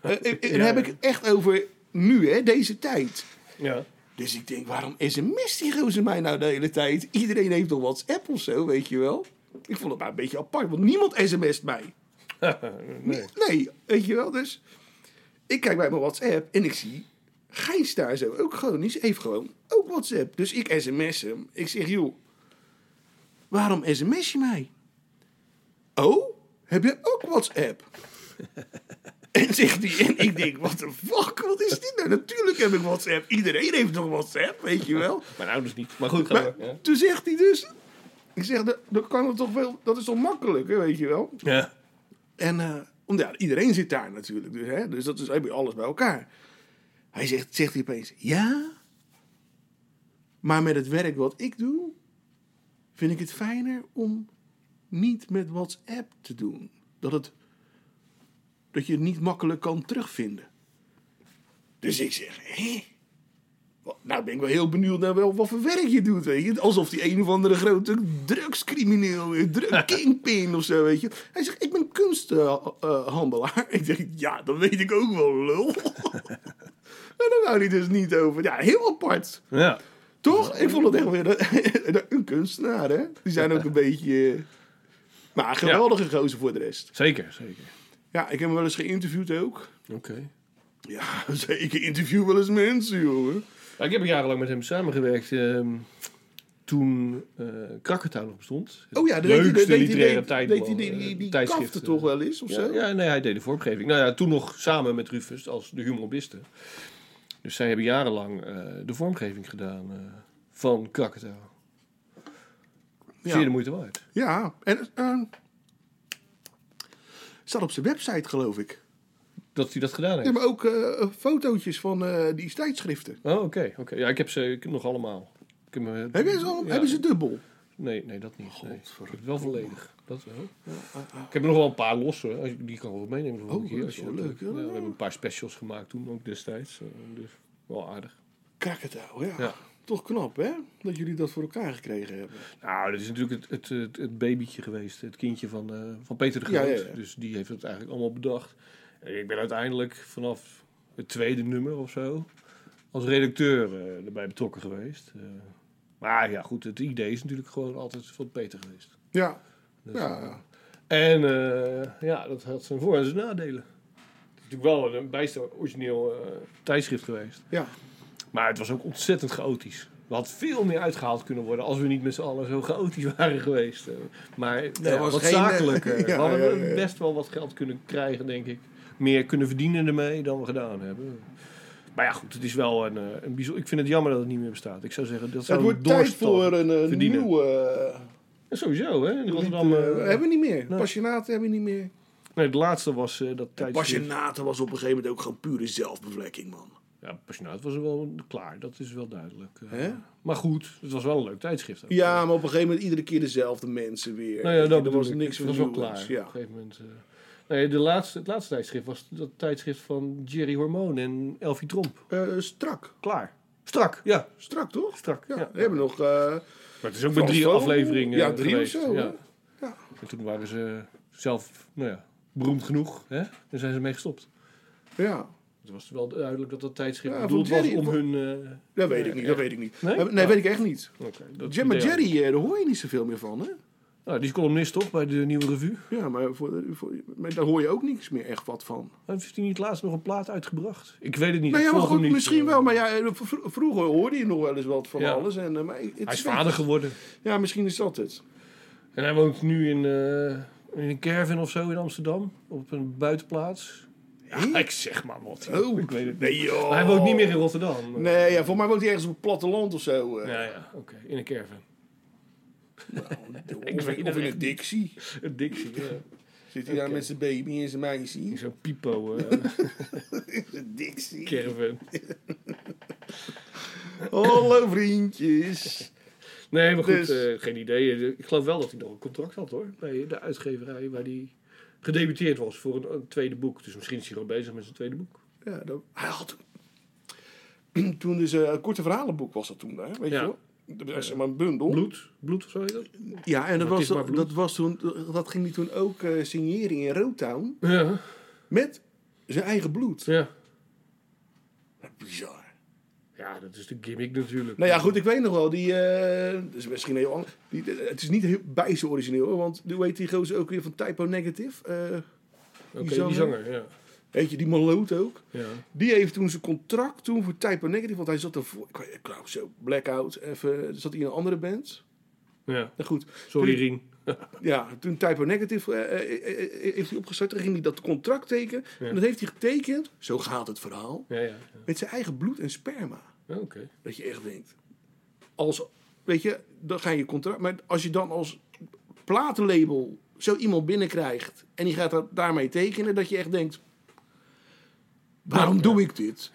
Speaker 7: Eh, en- en
Speaker 6: Ja,
Speaker 7: dan heb
Speaker 6: ja.
Speaker 7: ik het echt over nu, hè, deze tijd.
Speaker 6: eh, Ja.
Speaker 7: Dus ik denk, waarom sms die gozer mij nou de hele tijd? Iedereen heeft toch WhatsApp of zo, weet je wel? Ik vond het maar een beetje apart, want niemand sms't mij.
Speaker 6: nee.
Speaker 7: Nee, weet je wel. Dus ik kijk bij mijn WhatsApp en ik zie Gijs daar zo ook gewoon. Die heeft gewoon ook WhatsApp. Dus ik sms hem. Ik zeg, joh, waarom sms je mij? Oh, heb je ook WhatsApp? en zegt hij, en ik denk, what the fuck, wat is dit nou? Natuurlijk heb ik WhatsApp. Iedereen heeft nog WhatsApp, weet je wel.
Speaker 6: Mijn ouders niet. Maar goed, ga
Speaker 7: Maar
Speaker 6: door. Ja.
Speaker 7: toen zegt hij dus, ik zeg, dat, dat kan toch wel, dat is toch makkelijk, hè, weet je wel.
Speaker 6: Ja.
Speaker 7: En eh, om, ja, iedereen zit daar natuurlijk. Dus, hè, dus dat is, heb je alles bij elkaar. Hij zegt, zegt hij opeens, ja, maar met het werk wat ik doe, vind ik het fijner om niet met WhatsApp te doen. Dat, het, dat je het niet makkelijk kan terugvinden. Dus ik zeg, hé? Wa- Nou ben ik wel heel benieuwd naar wel wat voor werk je doet, weet je. Alsof die een of andere grote drugscrimineel, eh, drug kingpin of zo, weet je. Hij zegt, ik ben kunsthandelaar. ik zeg, ja, dat weet ik ook wel, lul. En daar wou hij dus niet over. Ja, heel apart.
Speaker 6: Ja.
Speaker 7: Toch? Ik vond het echt weer een, een kunstenaar, hè? Die zijn ook een beetje... eh, Maar geweldige gozer voor de rest.
Speaker 6: Zeker, zeker.
Speaker 7: Ja, ik heb hem wel eens geïnterviewd ook.
Speaker 6: Oké.
Speaker 7: Ja, zeker interview wel eens mensen, jongen.
Speaker 6: Ja, ik heb jarenlang met hem samengewerkt. ehm, toen eh Krakatau nog bestond. Het
Speaker 7: Oh ja, dat
Speaker 6: leukste
Speaker 7: deed, hij- deed,
Speaker 6: literaire
Speaker 7: hij- deed,
Speaker 6: tijdblad,
Speaker 7: hij die, die, die
Speaker 6: eh, tijdschrift,
Speaker 7: kaften
Speaker 6: eh.
Speaker 7: toch wel eens of zo?
Speaker 6: Ja, ja, nee, hij deed de vormgeving. Nou ja, toen nog samen met Rufus als de humoriste. Dus zij hebben jarenlang eh, de vormgeving gedaan eh, van Krakatau.
Speaker 7: Ja.
Speaker 6: Zeer de moeite waard.
Speaker 7: Ja, en ehm staat op zijn website, geloof ik.
Speaker 6: Dat hij dat gedaan
Speaker 7: Ze
Speaker 6: heeft.
Speaker 7: hebben ook eh, fotootjes van eh, die tijdschriften.
Speaker 6: Oh, oké. oké. Ja, ik heb ze ik heb nog allemaal. Ik heb, me-
Speaker 7: Hebben ze, al,
Speaker 6: Ja.
Speaker 7: hebben ze dubbel?
Speaker 6: Nee, nee, dat niet. Nee. Ik heb het wel volledig. Dat wel. Ik heb er nog wel een paar los hoor. Als je- Die kan ik wel meenemen voor een
Speaker 7: Oh,
Speaker 6: keer.
Speaker 7: dat
Speaker 6: als
Speaker 7: is
Speaker 6: je
Speaker 7: wel leuk,
Speaker 6: Ja,
Speaker 7: ja.
Speaker 6: we hebben een paar specials gemaakt toen ook destijds. eh, Dus wel aardig.
Speaker 7: Krakatau, ja.
Speaker 6: Ja.
Speaker 7: Toch knap, hè? Dat jullie dat voor elkaar gekregen hebben.
Speaker 6: Nou, dat is natuurlijk het, het, het, het babytje geweest. Het kindje van, eh, van Peter de
Speaker 7: Ja,
Speaker 6: Groot.
Speaker 7: ja, ja.
Speaker 6: Dus die heeft het eigenlijk allemaal bedacht. En ik ben uiteindelijk vanaf het tweede nummer of zo... als redacteur eh, erbij betrokken geweest. Eh, maar ja, goed. Het idee is natuurlijk gewoon altijd van Peter geweest.
Speaker 7: Ja.
Speaker 6: Dus,
Speaker 7: Ja.
Speaker 6: En eh, ja, dat had zijn voor- en zijn nadelen. Het is natuurlijk wel een bijster origineel eh, tijdschrift geweest.
Speaker 7: ja.
Speaker 6: Maar het was ook ontzettend chaotisch. Er had veel meer uitgehaald kunnen worden als we niet met z'n allen zo chaotisch waren geweest. Eh, Maar nou ja,
Speaker 7: was
Speaker 6: wat
Speaker 7: geen, eh,
Speaker 6: zakelijker. we
Speaker 7: ja,
Speaker 6: hadden
Speaker 7: ja, ja, ja.
Speaker 6: best wel wat geld kunnen krijgen, denk ik. Meer kunnen verdienen ermee dan we gedaan hebben. Maar ja, goed, het is wel een, eh, een bijzonder... Ik vind het jammer dat het niet meer bestaat. Ik zou zeggen, dat zou
Speaker 7: Het wordt
Speaker 6: een
Speaker 7: tijd
Speaker 6: doorstal
Speaker 7: voor een eh,
Speaker 6: verdienen.
Speaker 7: nieuwe... eh,
Speaker 6: Ja, sowieso, hè? In
Speaker 7: lied,
Speaker 6: Rotterdam...
Speaker 7: eh,
Speaker 6: eh,
Speaker 7: hebben we niet meer.
Speaker 6: nee.
Speaker 7: Passionaten hebben we niet meer.
Speaker 6: Nee, de laatste was eh, dat tijdschrift...
Speaker 7: Passionaten was op een gegeven moment ook gewoon pure zelfbevlekking, man.
Speaker 6: Ja, Passionaat was er wel klaar, dat is wel duidelijk. Eh,
Speaker 7: Hè?
Speaker 6: Maar goed, het was wel een leuk tijdschrift. ook.
Speaker 7: Ja, maar op een gegeven moment iedere keer dezelfde mensen weer.
Speaker 6: nou ja, dat
Speaker 7: Eh, er
Speaker 6: bedoel
Speaker 7: was
Speaker 6: ik. Het
Speaker 7: niks van
Speaker 6: was wel
Speaker 7: nieuws.
Speaker 6: klaar. Op
Speaker 7: Ja.
Speaker 6: een gegeven moment. eh. nee, de laatste, het laatste tijdschrift was dat tijdschrift van Jerry Hormoon en Elfie Tromp.
Speaker 7: Eh, strak.
Speaker 6: Klaar. Strak, ja.
Speaker 7: Strak, toch?
Speaker 6: Strak,
Speaker 7: Ja,
Speaker 6: ja.
Speaker 7: we hebben nog... eh,
Speaker 6: Maar het is ook
Speaker 7: Frans
Speaker 6: met drie
Speaker 7: Vogel.
Speaker 6: afleveringen
Speaker 7: Ja, drie
Speaker 6: geweest.
Speaker 7: of zo,
Speaker 6: Ja.
Speaker 7: hè? Ja.
Speaker 6: En toen waren ze zelf, nou ja, beroemd genoeg. Hè? En zijn ze mee gestopt.
Speaker 7: ja.
Speaker 6: Het was wel duidelijk dat dat tijdschrift
Speaker 7: Ja,
Speaker 6: bedoeld
Speaker 7: van
Speaker 6: was
Speaker 7: Jerry,
Speaker 6: om
Speaker 7: van-
Speaker 6: hun... eh,
Speaker 7: Dat weet
Speaker 6: Ja,
Speaker 7: ik niet,
Speaker 6: ja.
Speaker 7: dat weet ik niet. Eh,
Speaker 6: Nee?
Speaker 7: Nee,
Speaker 6: Ja.
Speaker 7: weet ik echt niet.
Speaker 6: oké, dat
Speaker 7: Jam, maar
Speaker 6: idee hadden.
Speaker 7: Jerry, eh, daar hoor je niet zoveel meer van, hè?
Speaker 6: Nou, die is columnist toch, bij de Nieuwe Revue?
Speaker 7: Ja, maar, voor, voor, maar daar hoor je ook niks meer echt wat van.
Speaker 6: Heeft hij niet laatst nog een plaat uitgebracht? Ik weet het niet.
Speaker 7: Nou
Speaker 6: ik
Speaker 7: ja,
Speaker 6: volg
Speaker 7: maar
Speaker 6: hem
Speaker 7: goed,
Speaker 6: niet.
Speaker 7: misschien wel. Maar ja, eh, vro- vroeger hoorde je nog wel eens wat van
Speaker 6: Ja.
Speaker 7: alles. En, eh, maar het
Speaker 6: Hij is
Speaker 7: weg.
Speaker 6: vader geworden.
Speaker 7: Ja, misschien is dat het.
Speaker 6: En hij woont nu in, eh, in een caravan of zo in Amsterdam. Op een buitenplaats. Ja, ik zeg maar wat. joh.
Speaker 7: Oh.
Speaker 6: Ik weet het niet.
Speaker 7: Nee, joh.
Speaker 6: Maar hij woont niet meer in Rotterdam. Eh,
Speaker 7: Nee, ja, volgens mij woont hij ergens op het platteland of zo. eh.
Speaker 6: Ja, ja, oké. In een caravan.
Speaker 7: Of,
Speaker 6: Ik weet het
Speaker 7: of in
Speaker 6: echt
Speaker 7: een Dixie.
Speaker 6: Een Dixie. Ja.
Speaker 7: Zit hij daar met zijn baby en zijn meisje?
Speaker 6: Zo'n pipo eh
Speaker 7: Een Dixie.
Speaker 6: caravan.
Speaker 7: Hallo vriendjes.
Speaker 6: Nee, maar goed.
Speaker 7: Dus-
Speaker 6: eh, geen idee. Ik geloof wel dat hij nog een contract had hoor. Bij de uitgeverij waar hij gedebuteerd was voor een, een tweede boek. Dus misschien is hij gewoon bezig met zijn tweede boek.
Speaker 7: Ja, dat, hij had toen dus eh, een korte verhalenboek was dat toen, hè? weet
Speaker 6: Ja.
Speaker 7: je wel? Dat was zeg maar een bundel.
Speaker 6: Bloed? Bloed of zo heet dat?
Speaker 7: Ja, en dat
Speaker 6: Maar
Speaker 7: was,
Speaker 6: het is maar bloed.
Speaker 7: dat was toen, dat ging hij toen ook eh, signeren in Rotown
Speaker 6: Ja.
Speaker 7: met zijn eigen bloed.
Speaker 6: Ja.
Speaker 7: Bizar.
Speaker 6: Ja, dat is de gimmick natuurlijk.
Speaker 7: Nou ja, goed, ik weet nog wel, die, eh, dat is misschien heel anders. Die, eh, het is niet heel bij zo origineel, hoor, want hoe heet die gozer ook weer van Typo Negative? Eh,
Speaker 6: Oké,
Speaker 7: die
Speaker 6: die
Speaker 7: zanger.
Speaker 6: zanger, ja.
Speaker 7: weet je, die maloot ook.
Speaker 6: ja.
Speaker 7: Die heeft toen zijn contract toen voor Typo Negative, want hij zat ervoor, ik weet nou, zo, Blackout, even, zat hij in een andere band.
Speaker 6: ja.
Speaker 7: Nou goed,
Speaker 6: Sorry,
Speaker 7: Toen-
Speaker 6: Rien.
Speaker 7: Ja, toen Typo Negative eh, eh, eh, eh, heeft hij opgestart, toen ging hij dat contract tekenen. En dat heeft hij getekend, zo gaat het verhaal,
Speaker 6: Ja, ja.
Speaker 7: met zijn eigen bloed en sperma.
Speaker 6: ja. Oké.
Speaker 7: Dat je echt denkt, als, weet je, dan ga je contract... Maar als je dan als platenlabel zo iemand binnenkrijgt en die gaat dat daarmee tekenen, dat je echt denkt... Waarom doe ik dit?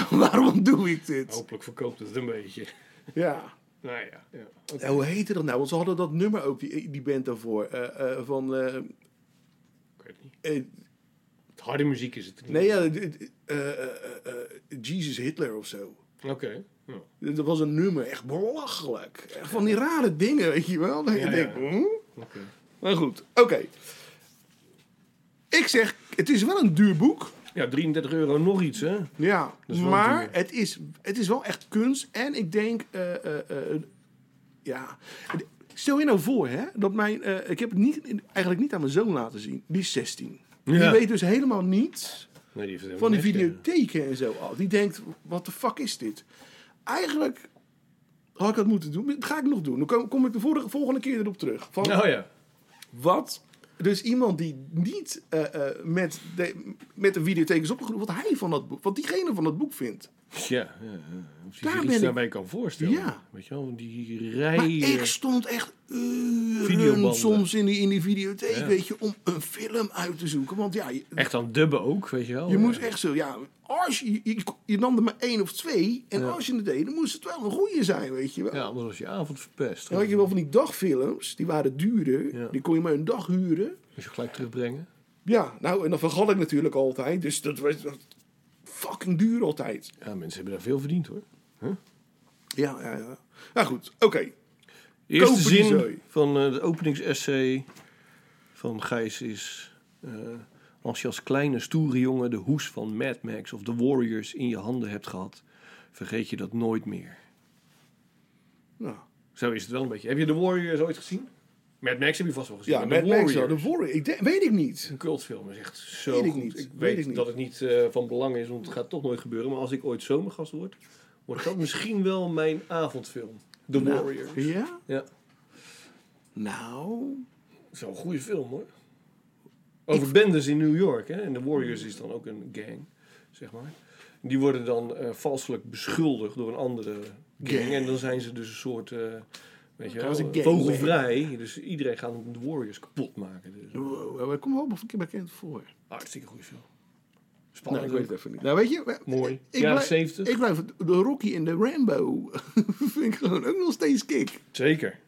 Speaker 7: waarom doe ik dit?
Speaker 6: Hopelijk verkoopt het een beetje.
Speaker 7: Ja.
Speaker 6: Nou ja. ja.
Speaker 7: Ja, hoe heette dat nou? Want ze hadden dat nummer ook, die, die band daarvoor. eh, eh, van... eh,
Speaker 6: Ik weet het niet.
Speaker 7: eh,
Speaker 6: Harde muziek is het niet.
Speaker 7: Nee, ja, d- d- eh, eh, eh, eh, Jesus Hitler of zo.
Speaker 6: Oké. nou.
Speaker 7: Dat was een nummer, echt belachelijk. Echt van die rare dingen, weet je wel. Dat je
Speaker 6: Ja,
Speaker 7: denkt,
Speaker 6: ja.
Speaker 7: hm?
Speaker 6: Oké.
Speaker 7: Maar goed, oké. Ik zeg, het is wel een duur boek.
Speaker 6: Ja, 33 euro nog iets, hè?
Speaker 7: Ja,
Speaker 6: is wel
Speaker 7: maar
Speaker 6: duur.
Speaker 7: het is, het is wel echt kunst. En ik denk, eh, eh, eh, ja. Stel je nou voor, hè, dat mijn. eh, ik heb het niet, eigenlijk niet aan mijn zoon laten zien. Die is 16. Die
Speaker 6: Ja.
Speaker 7: weet dus helemaal niets
Speaker 6: Nee, die heeft
Speaker 7: van die
Speaker 6: helemaal niks,
Speaker 7: videotheken en zo al. Die denkt, wat de fuck is dit? Eigenlijk had ik dat moeten doen. Dat ga ik nog doen. Dan kom, kom ik de vorige, volgende keer erop terug. Van,
Speaker 6: hè. Oh ja.
Speaker 7: wat? Dus iemand die niet eh, eh, met, de, met de videotheek is opgegroeid, wat hij van dat boek, wat diegene van dat boek vindt.
Speaker 6: Ja, ja, ja. Of je
Speaker 7: Daar
Speaker 6: zich
Speaker 7: ben
Speaker 6: iets
Speaker 7: ik-
Speaker 6: daarbij kan voorstellen.
Speaker 7: Ja.
Speaker 6: Weet je wel, die
Speaker 7: Maar
Speaker 6: rijen.
Speaker 7: ik stond echt uren
Speaker 6: eh, Videobanden.
Speaker 7: soms in die, in die videotheek,
Speaker 6: Ja.
Speaker 7: weet je, om een film uit te zoeken. Want ja, je,
Speaker 6: Echt aan dubben ook, weet je wel.
Speaker 7: je
Speaker 6: Oh, Ja.
Speaker 7: moest echt zo, ja, als je, je, je nam er maar één of twee. En als je het deed, dan moest het wel een goeie zijn, weet je wel.
Speaker 6: Ja, anders was je avond verpest.
Speaker 7: Dan had Oh, je wel van die dagfilms, die waren duurder,
Speaker 6: Ja.
Speaker 7: die kon je maar een dag huren.
Speaker 6: Moest je gelijk terugbrengen.
Speaker 7: Ja, nou, en dan vergat ik natuurlijk altijd, dus dat was dat fucking duur altijd.
Speaker 6: Ja, mensen hebben daar veel verdiend hoor.
Speaker 7: Ja, ja, ja. Nou goed, oké.
Speaker 6: De eerste
Speaker 7: Kopen die
Speaker 6: zin
Speaker 7: zooi.
Speaker 6: van eh de openingsessay van Gijs is... eh, als je als kleine stoere jongen de hoes van Mad Max of The Warriors in je handen hebt gehad... vergeet je dat nooit meer.
Speaker 7: Nou,
Speaker 6: Zo is het wel een beetje. Heb je The Warriors ooit gezien? Mad Max heb je vast wel gezien.
Speaker 7: ja,
Speaker 6: maar
Speaker 7: Mad
Speaker 6: The
Speaker 7: Max, ja,
Speaker 6: Warriors.
Speaker 7: de Warrior. Ik denk- weet ik niet.
Speaker 6: Een cultfilm is echt zo
Speaker 7: Weet ik
Speaker 6: goed.
Speaker 7: niet.
Speaker 6: Ik weet,
Speaker 7: Weet ik niet.
Speaker 6: dat het niet eh, van belang is, want het gaat toch nooit gebeuren. Maar als ik ooit zomergast word, wordt dat misschien wel mijn avondfilm. The
Speaker 7: Nou.
Speaker 6: Warriors.
Speaker 7: Ja?
Speaker 6: Ja,
Speaker 7: Nou,
Speaker 6: zo'n goede film hoor. Over bendes in New York. Hè? En de Warriors is dan ook een gang, zeg maar. Die worden dan eh, valselijk beschuldigd door een andere gang.
Speaker 7: Gang.
Speaker 6: En dan zijn ze dus een soort... eh, Weet je
Speaker 7: Dat was
Speaker 6: wel, eh,
Speaker 7: een gang
Speaker 6: vogelvrij. Dus iedereen gaat de Warriors kapot maken. Dus.
Speaker 7: wow, hij komt wel een keer bekend voor.
Speaker 6: Hartstikke goede film.
Speaker 7: Nou,
Speaker 6: Spannend.
Speaker 7: ik weet het even niet. Nou, weet je... we-
Speaker 6: Mooi.
Speaker 7: Ik
Speaker 6: Jaren
Speaker 7: blijf-
Speaker 6: 70.
Speaker 7: Ik blijf... De Rocky en de Rambo vind ik gewoon ook nog steeds kick.
Speaker 6: Zeker.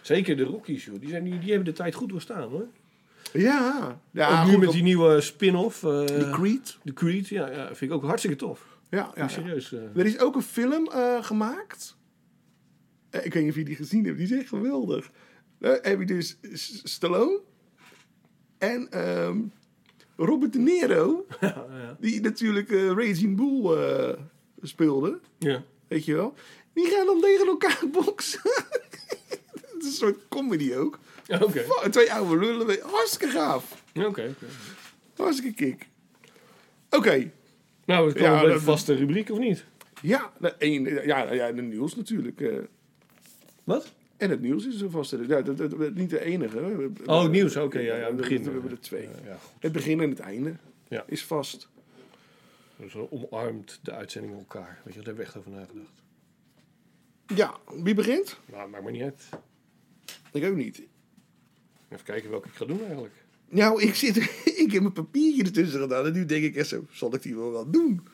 Speaker 6: Zeker de Rockies, joh. Die, zijn, die, die hebben de tijd goed doorstaan, hoor.
Speaker 7: Ja.
Speaker 6: ook
Speaker 7: Ja,
Speaker 6: nu
Speaker 7: goed,
Speaker 6: met
Speaker 7: dat-
Speaker 6: die nieuwe spin-off. eh,
Speaker 7: de Creed.
Speaker 6: de Creed, ja, ja. Vind ik ook hartstikke tof.
Speaker 7: Ja, ja, ja.
Speaker 6: serieus. eh.
Speaker 7: Er is ook een film eh, gemaakt. Eh, ik weet niet of je die gezien hebt. Die is echt geweldig. Eh, heb je dus S- Stallone en ehm, Robert De Niro. Die natuurlijk eh, Raging Bull eh, speelde.
Speaker 6: Ja.
Speaker 7: Weet je wel. Die gaan dan tegen elkaar boksen. Het is een soort comedy ook.
Speaker 6: Ja, Oké.
Speaker 7: Fuck, Twee oude lullen. weet- Hartstikke gaaf.
Speaker 6: Ja, Oké. oké.
Speaker 7: Hartstikke kick. Oké.
Speaker 6: Nou, het kwam
Speaker 7: Ja,
Speaker 6: bij de
Speaker 7: dat-
Speaker 6: vaste rubriek, of niet?
Speaker 7: Ja, de, een, ja, ja, de nieuws natuurlijk. eh.
Speaker 6: Wat?
Speaker 7: En het nieuws is er vast. Ja, dat, dat, dat- niet de enige. hè. We-
Speaker 6: Oh, het nieuws, oké, ja, ja, het
Speaker 7: we-
Speaker 6: begin. eh,
Speaker 7: We hebben er twee.
Speaker 6: Ja, goed.
Speaker 7: Het begin en het einde
Speaker 6: Ja.
Speaker 7: is vast.
Speaker 6: Zo omarmt de uitzending elkaar. Weet je, daar hebben we echt over nagedacht.
Speaker 7: Ja, wie begint?
Speaker 6: Nou, maakt me niet uit.
Speaker 7: Ik ook niet.
Speaker 6: Even kijken welke ik ga doen, eigenlijk.
Speaker 7: Nou, ik, zit, ik heb mijn papiertje ertussen gedaan. En nu denk ik echt zo, zal ik die wel gaan doen?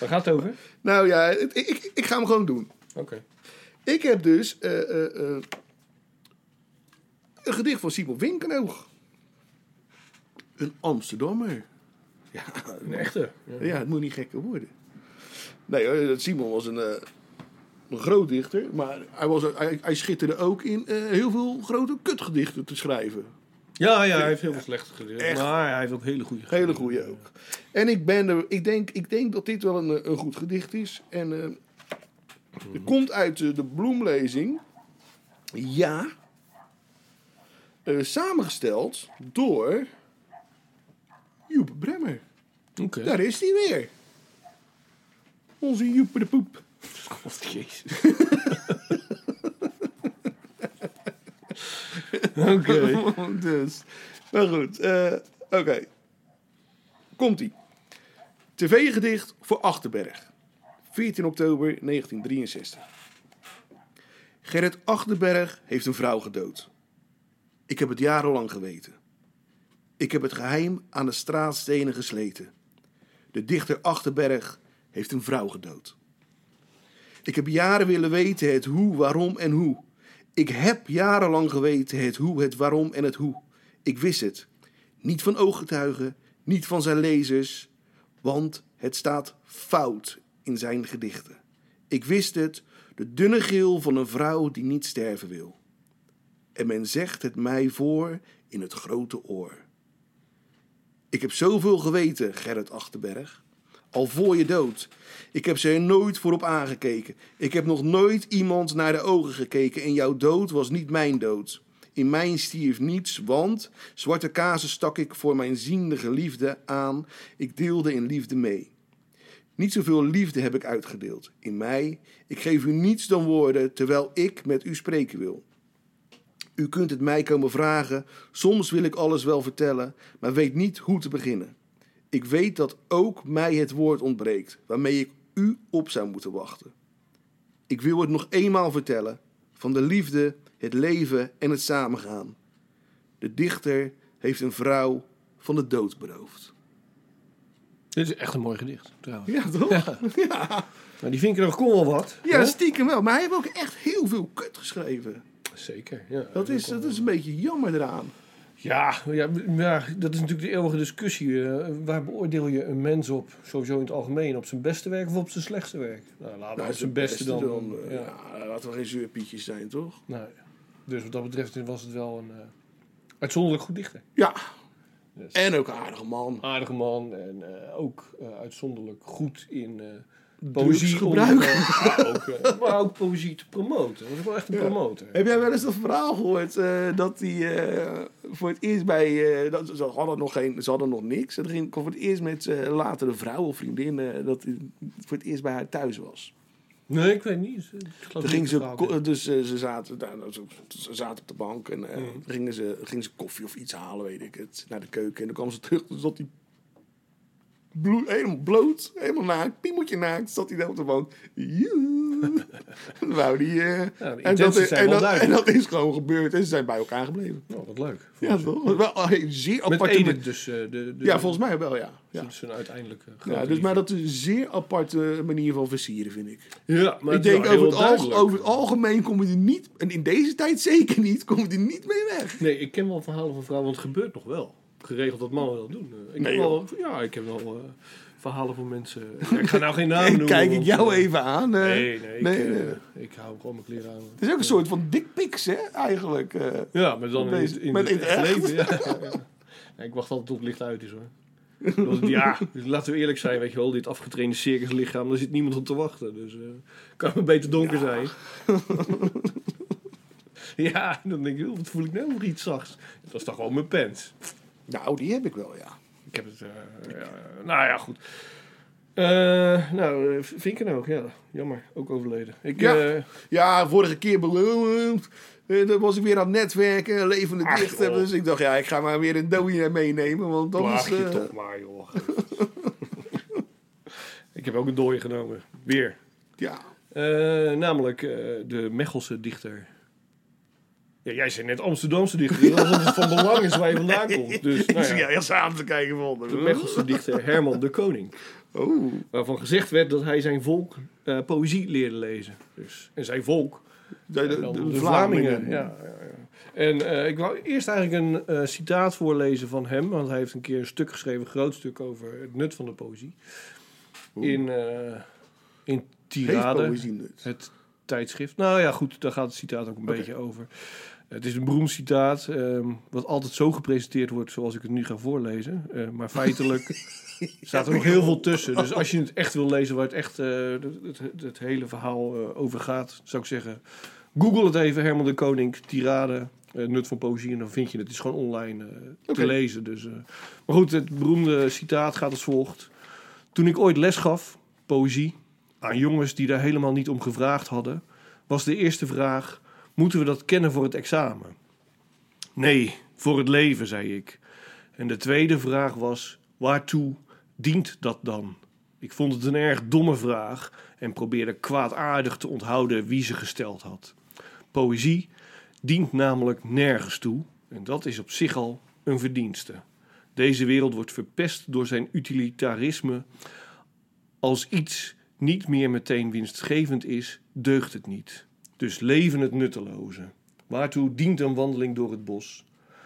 Speaker 6: Waar gaat het over?
Speaker 7: Nou ja, het- ik, ik, ik ga hem gewoon doen.
Speaker 6: Oké.
Speaker 7: Ik heb dus eh, eh, eh, een gedicht van Simon Winkenoog. Een Amsterdammer.
Speaker 6: Een echte. Ja.
Speaker 7: Ja, het moet niet gekker worden. Nee, hoor, dat Simon was een, eh, een groot dichter, maar hij, was, hij, hij schitterde ook in eh, heel veel grote kutgedichten te schrijven.
Speaker 6: Ja, ja, hij heeft heel veel slechte gedichten.
Speaker 7: Echt.
Speaker 6: Maar hij heeft ook hele goede
Speaker 7: Hele goede ook. En ik, ben er, ik, denk, ik denk dat dit wel een, eh, een goed gedicht is. En eh, het komt uit eh, de bloemlezing. Ja. Eh, samengesteld door Joep Bremmer.
Speaker 6: Oké.
Speaker 7: Daar is hij weer. Onze Joep de Poep.
Speaker 6: God, jezus. Oké.
Speaker 7: dus. Maar goed, eh, oké. Komt-ie. TV-gedicht voor Achterberg. 14 oktober 1963. Gerrit Achterberg heeft een vrouw gedood. Ik heb het jarenlang geweten. Ik heb het geheim aan de straatstenen gesleten. De dichter Achterberg heeft een vrouw gedood. Ik heb jaren willen weten het hoe, waarom en hoe. Ik heb jarenlang geweten het hoe, het waarom en het hoe. Ik wist het. Niet van ooggetuigen, niet van zijn lezers, want het staat fout in zijn gedichten. Ik wist het, de dunne geel van een vrouw die niet sterven wil. En men zegt het mij voor in het grote oor. Ik heb zoveel geweten, Gerrit Achterberg. Al voor je dood. Ik heb ze er nooit voor op aangekeken. Ik heb nog nooit iemand naar de ogen gekeken. En jouw dood was niet mijn dood. In mijn stierf niets, want zwarte kazen stak ik voor mijn ziende geliefde aan. Ik deelde in liefde mee. Niet zoveel liefde heb ik uitgedeeld. In mij, ik geef u niets dan woorden, terwijl ik met u spreken wil. U kunt het mij komen vragen. Soms wil ik alles wel vertellen, maar weet niet hoe te beginnen. Ik weet dat ook mij het woord ontbreekt, waarmee ik u op zou moeten wachten. Ik wil het nog eenmaal vertellen: van de liefde, het leven en het samengaan. De dichter heeft een vrouw van de dood beroofd.
Speaker 6: Dit is echt een mooi gedicht, trouwens.
Speaker 7: Ja, toch? Ja, ja.
Speaker 6: Nou, die Vinkenburg kon wel wat. hè?
Speaker 7: stiekem wel. Maar hij heeft ook echt heel veel kut geschreven.
Speaker 6: Zeker, ja.
Speaker 7: Dat is, dat is een beetje jammer eraan.
Speaker 6: Ja, ja, ja, dat is natuurlijk de eeuwige discussie. eh, waar beoordeel je een mens op, sowieso in het algemeen? Op zijn beste werk of op zijn slechtste werk? Nou, laten we op zijn beste, dan.
Speaker 7: eh,
Speaker 6: ja.
Speaker 7: ja, laten we geen zuurpietjes zijn, toch?
Speaker 6: Nou, ja. dus wat dat betreft was het wel een eh, uitzonderlijk goed dichter.
Speaker 7: Ja.
Speaker 6: Dus.
Speaker 7: En ook een aardige man.
Speaker 6: Aardige man en eh, ook eh, uitzonderlijk goed in eh poëzie.
Speaker 7: Drugsgebruik.
Speaker 6: eh, ja, ook, eh, maar ook poëzie te promoten. Dat is wel echt een promotor.
Speaker 7: Heb jij wel eens dat verhaal gehoord eh, dat hij eh, voor het eerst bij... eh, dat, ze, hadden nog geen, ze hadden nog niks. En toen ging ik voor het eerst met zijn latere vrouw of vriendin... eh, dat hij voor het eerst bij haar thuis was.
Speaker 6: Nee, ik weet niet. Ik geloof
Speaker 7: Toen
Speaker 6: niet
Speaker 7: gingen
Speaker 6: dat
Speaker 7: ze,
Speaker 6: het
Speaker 7: ko-
Speaker 6: verhaal
Speaker 7: dus eh, ze, zaten, daar, nou, ze, ze zaten op de bank en eh,
Speaker 6: Mm.
Speaker 7: toen gingen, ze, gingen ze koffie of iets halen, weet ik het, naar de keuken. En dan kwam ze terug, toen zat hij blo- helemaal bloot, helemaal naakt, piemeltje naakt, zat hij daar op de bank. Joe. Dan wou die, eh,
Speaker 6: de
Speaker 7: en, dat,
Speaker 6: intenties zijn
Speaker 7: en,
Speaker 6: wel
Speaker 7: dat, en
Speaker 6: duidelijk.
Speaker 7: dat is gewoon gebeurd en ze zijn bij elkaar gebleven.
Speaker 6: Oh, wat leuk.
Speaker 7: Ja, toch? Wel een zeer
Speaker 6: Met
Speaker 7: aparte...
Speaker 6: Edith dus. eh, de, de,
Speaker 7: ja, volgens mij wel, ja. ja.
Speaker 6: Dat is een uiteindelijke grote
Speaker 7: Ja, dus, maar dat is een zeer aparte manier van versieren, vind ik.
Speaker 6: liefde. Ja, maar
Speaker 7: ik
Speaker 6: is
Speaker 7: denk
Speaker 6: wel
Speaker 7: over het,
Speaker 6: heel
Speaker 7: alge-
Speaker 6: duidelijk.
Speaker 7: over het algemeen kom je er niet, en in deze tijd zeker niet, kom je er niet mee weg.
Speaker 6: Nee, ik ken wel verhalen van vrouwen, want het gebeurt nog wel. Geregeld dat mannen dat doen. Eh, Ik
Speaker 7: Nee,
Speaker 6: heb wel, ja, ik heb wel eh, verhalen van mensen. Ja, ik ga nou geen namen
Speaker 7: En
Speaker 6: noemen.
Speaker 7: kijk ik
Speaker 6: want,
Speaker 7: jou
Speaker 6: eh,
Speaker 7: even aan. eh.
Speaker 6: Nee, nee, ik,
Speaker 7: nee,
Speaker 6: eh,
Speaker 7: nee.
Speaker 6: ik hou gewoon mijn kleren aan.
Speaker 7: Het is ook een soort van dickpics, hè, eigenlijk. eh.
Speaker 6: Ja, maar dan in,
Speaker 7: Met
Speaker 6: het- in
Speaker 7: met
Speaker 6: het
Speaker 7: in
Speaker 6: echt
Speaker 7: het echt.
Speaker 6: leven. Ja, ja. Nee, ik wacht altijd tot het licht uit is hoor. Want ja, dus laten we eerlijk zijn, weet je wel, dit afgetrainde circuslichaam, daar zit niemand op te wachten. Dus eh, kan het beter donker zijn. ja, dan denk je, joh, wat voel ik nou nog iets zachts? Dat was toch gewoon mijn pens.
Speaker 7: Nou, die heb ik wel, ja.
Speaker 6: Ik heb het. eh, ja, nou ja, goed. Eh nou, eh, Vinken ook, ja. Jammer, ook overleden. Ik,
Speaker 7: Ja.
Speaker 6: eh,
Speaker 7: Ja, vorige keer beloond. Eh, dan was ik weer aan het netwerken, levende
Speaker 6: Ach,
Speaker 7: dichter.
Speaker 6: joh.
Speaker 7: Dus ik dacht, ja, ik ga maar weer een dooie meenemen. Want dan
Speaker 6: Plaag
Speaker 7: is
Speaker 6: je
Speaker 7: eh,
Speaker 6: toch maar, joh. ik heb ook een dooi genomen. Weer.
Speaker 7: Ja.
Speaker 6: Eh, namelijk eh, de Mechelse dichter. Ja, jij zei net Amsterdamse dichter. Dat is omdat het van belang is waar je vandaan komt. Dus,
Speaker 7: Ik
Speaker 6: nou
Speaker 7: zit
Speaker 6: ja,
Speaker 7: ja, ja, samen te kijken van.
Speaker 6: de Mechelse dichter Herman de Koning.
Speaker 7: Oh,
Speaker 6: Waarvan gezegd werd dat hij zijn volk eh, poëzie leerde lezen. Dus, en zijn volk,
Speaker 7: de, de-
Speaker 6: dan
Speaker 7: de
Speaker 6: de,
Speaker 7: Vlamingen.
Speaker 6: Vlamingen. Ja, ja, ja. En eh, ik wou eerst eigenlijk een eh, citaat voorlezen van hem. Want hij heeft een keer een stuk geschreven, een groot stuk over het nut van de poëzie. In, eh in
Speaker 7: Heeft
Speaker 6: Tirade.
Speaker 7: poëzie nut.
Speaker 6: Het tijdschrift. Nou ja, goed, daar gaat het citaat ook een beetje over. Het is een beroemd citaat, ehm, wat altijd zo gepresenteerd wordt zoals ik het nu ga voorlezen. Eh, maar feitelijk staat er nog heel veel tussen. Dus als je het echt wil lezen waar het echt eh, het, het, het hele verhaal eh, over gaat, zou ik zeggen... Google het even, Herman de Koning, tirade, eh, nut van poëzie. En dan vind je het. Het is gewoon online eh,
Speaker 7: Oké.
Speaker 6: te lezen. Dus, eh. Maar goed, het beroemde citaat gaat als volgt. Toen ik ooit les gaf, poëzie, aan jongens die daar helemaal niet om gevraagd hadden, was de eerste vraag: moeten we dat kennen voor het examen? Nee, voor het leven, zei ik. En de tweede vraag was: waartoe dient dat dan? Ik vond het een erg domme vraag en probeerde kwaadaardig te onthouden wie ze gesteld had. Poëzie dient namelijk nergens toe en dat is op zich al een verdienste. Deze wereld wordt verpest door zijn utilitarisme als iets niet meer meteen winstgevend is, deugt het niet. Dus leven het nutteloze. Waartoe dient een wandeling door het bos?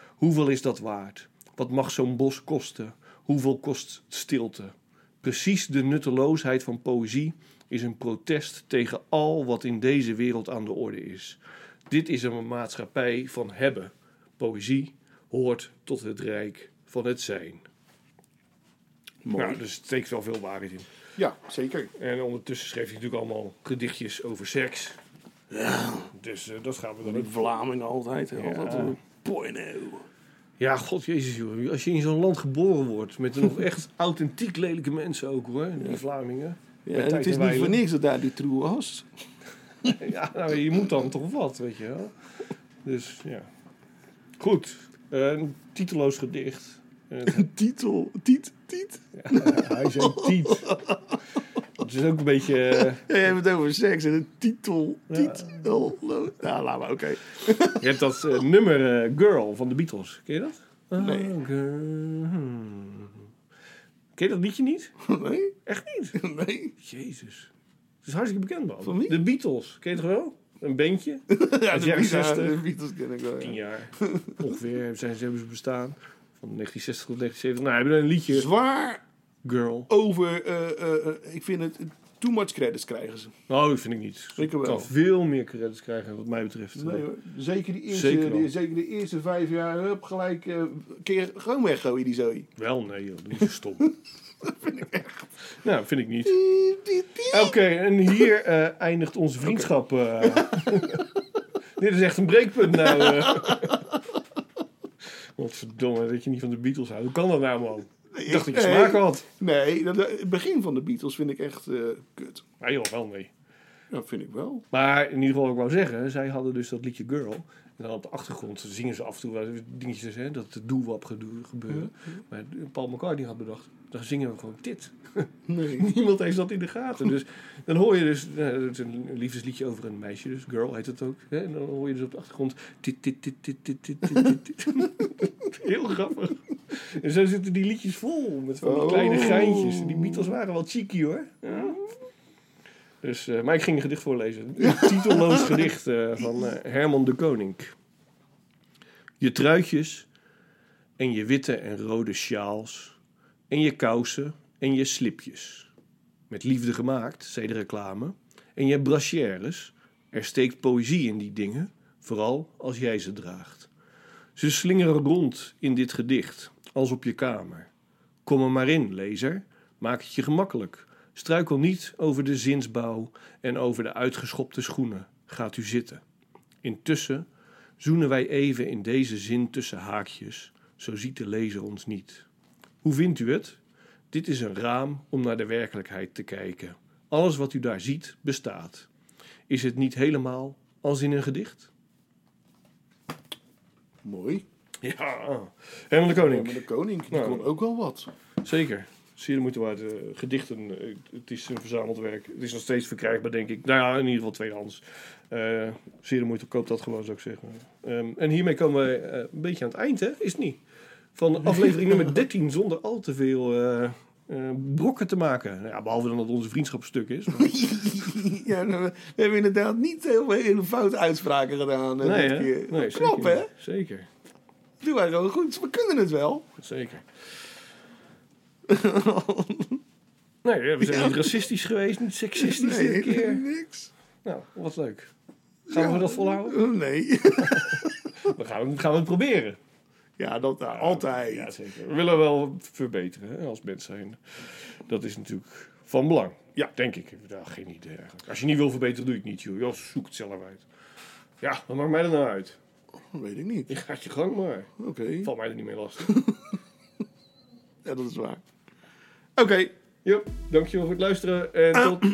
Speaker 6: Hoeveel is dat waard? Wat mag zo'n bos kosten? Hoeveel kost stilte? Precies de nutteloosheid van poëzie is een protest tegen al wat in deze wereld aan de orde is. Dit is een maatschappij van hebben. Poëzie hoort tot het rijk van het zijn.
Speaker 7: Mooi.
Speaker 6: Nou, dus het steekt wel veel waarheid in.
Speaker 7: Ja, zeker.
Speaker 6: En ondertussen schreef hij natuurlijk allemaal gedichtjes over seks. Dus eh, dat gaan we dan ook.
Speaker 5: Vlaming altijd. hè, Altijd een porno.
Speaker 6: Ja, god jezus joh. Als je in zo'n land geboren wordt met nog echt authentiek lelijke mensen ook hoor. Die Vlamingen.
Speaker 5: Ja,
Speaker 6: Bij
Speaker 5: en het is
Speaker 6: Tijd en
Speaker 5: niet
Speaker 6: Weilen.
Speaker 5: voor niks dat daar die troe was.
Speaker 6: Ja, nou, je moet dan toch wat, weet je wel. Dus ja. Goed. Een titeloos gedicht. En het-
Speaker 5: Titel. Tiet, tiet.
Speaker 6: Hij zei tiet. Het is ook een beetje... eh,
Speaker 5: Ja, je hebt het over seks en een titel.
Speaker 6: Ja.
Speaker 5: Tiet. Oh, lo- nou, laat maar. Oké.
Speaker 6: Je hebt dat eh, nummer eh, Girl van de Beatles. Ken je dat?
Speaker 5: Nee.
Speaker 6: Oh, girl. Hmm. Ken je dat liedje niet?
Speaker 5: Nee?
Speaker 6: Echt niet?
Speaker 5: Nee?
Speaker 6: Jezus. Het is hartstikke bekend, man.
Speaker 5: Van wie?
Speaker 6: De Beatles. Ken je het wel? Een bandje.
Speaker 5: Ja,
Speaker 6: Uit de jaren
Speaker 5: Beatles-
Speaker 6: 60.
Speaker 5: de Beatles ken ik wel, ja.
Speaker 6: Tien jaar. Ongeveer zijn ze, hebben ze bestaan. Van 1960 tot 1970. Nou, hebben we een liedje.
Speaker 7: Zwaar
Speaker 6: Girl.
Speaker 7: over, eh, eh, eh, ik vind het, eh, too much credits krijgen ze.
Speaker 6: Oh, dat vind ik niet.
Speaker 7: Ik wel.
Speaker 6: kan veel meer credits krijgen, wat mij betreft.
Speaker 7: Nee, hoor. zeker, die eerste,
Speaker 6: Zeker wel.
Speaker 7: die- zeker de eerste vijf jaar, hup, gelijk, eh, kun je gewoon weggooien die zooi.
Speaker 6: Wel, nee, joh. Doe je stom. dat vind ik echt... Nou, vind ik niet. Oké, en hier eh, eindigt onze vriendschap. eh. Dit is echt een breekpunt nou. eh. Wat verdomme, dat je niet van de Beatles houdt. Hoe kan dat nou, man? Ik dacht dat je
Speaker 7: Nee.
Speaker 6: smaak had.
Speaker 7: Nee, dat, het begin van de Beatles vind ik echt eh, kut.
Speaker 6: Maar joh, wel nee.
Speaker 7: Dat vind ik wel.
Speaker 6: Maar in ieder geval, wat ik wou zeggen, zij hadden dus dat liedje Girl. En dan op de achtergrond zingen ze af en toe wel eens dingetjes, hè, dat de doewap gedoe- gebeuren. Maar Paul McCartney had bedacht, dan zingen we gewoon dit.
Speaker 7: Nee.
Speaker 6: Niemand heeft dat in de gaten. Dus dan hoor je dus, nou, het is een liefdesliedje over een meisje, dus Girl heet het ook. Hè, en dan hoor je dus op de achtergrond, dit, dit, dit, dit, dit, dit, dit, dit. Heel grappig. En zo zitten die liedjes vol met van die kleine
Speaker 7: Oh.
Speaker 6: geintjes. En die Beatles waren wel cheeky hoor. Ja. Dus, eh, maar ik ging een gedicht voorlezen. Een titelloos gedicht eh, van eh, Herman de Koning. Je truitjes en je witte en rode sjaals en je kousen en je slipjes. Met liefde gemaakt, zei de reclame. En je brassières, er steekt poëzie in die dingen, vooral als jij ze draagt. Ze slingeren rond in dit gedicht, als op je kamer. Kom er maar in, lezer. Maak het je gemakkelijk. Struikel niet over de zinsbouw en over de uitgeschopte schoenen. Gaat u zitten. Intussen zoenen wij even in deze zin tussen haakjes. Zo ziet de lezer ons niet. Hoe vindt u het? Dit is een raam om naar de werkelijkheid te kijken. Alles wat u daar ziet bestaat. Is het niet helemaal als in een gedicht?
Speaker 7: Mooi.
Speaker 6: Ja, Herman de Koning.
Speaker 7: Maar de koning, die
Speaker 6: Nou.
Speaker 7: kon ook wel wat.
Speaker 6: Zeker. Zeer de moeite waard. eh, gedichten, eh, het is een verzameld werk. Het is nog steeds verkrijgbaar, denk ik. Nou ja, in ieder geval tweedehands. Eh zeer de moeite, koop dat gewoon, zou ik zeggen. Ehm, en hiermee komen we eh, een beetje aan het eind, hè? Is het niet? Van aflevering nummer 13, zonder al te veel eh, eh, brokken te maken. Nou Ja, behalve dan dat onze vriendschap stuk is. maar-
Speaker 5: Ja, nou, we hebben inderdaad niet heel veel hele foute uitspraken gedaan. eh,
Speaker 6: nee,
Speaker 5: dit
Speaker 6: hè?
Speaker 5: keer.
Speaker 6: Nee,
Speaker 5: Knap,
Speaker 6: zeker
Speaker 5: hè?
Speaker 6: niet. Zeker,
Speaker 5: Doe wij gewoon goed. We kunnen het wel.
Speaker 6: zeker. Nee, we zijn niet racistisch geweest, niet seksistisch dit keer.
Speaker 5: niks.
Speaker 6: Nou, wat leuk. Gaan we dat volhouden?
Speaker 5: Oh, Nee.
Speaker 6: We gaan, gaan we het proberen.
Speaker 5: Ja, dat nou, altijd. Ja,
Speaker 6: zeker. We willen wel verbeteren hè, als mens zijn. Dat is natuurlijk van belang. Ja, denk ik. Nou, geen idee eigenlijk. Als je niet wil verbeteren, doe ik niet, joh. Joh, zoek het zelf uit. Ja, wat maakt mij er nou uit?
Speaker 5: weet ik niet.
Speaker 6: Je gaat je gang maar.
Speaker 5: Oké.
Speaker 6: Valt mij er niet mee lastig.
Speaker 5: Ja, dat is waar.
Speaker 7: Oké.
Speaker 6: Joh, dankjewel voor het luisteren. En tot...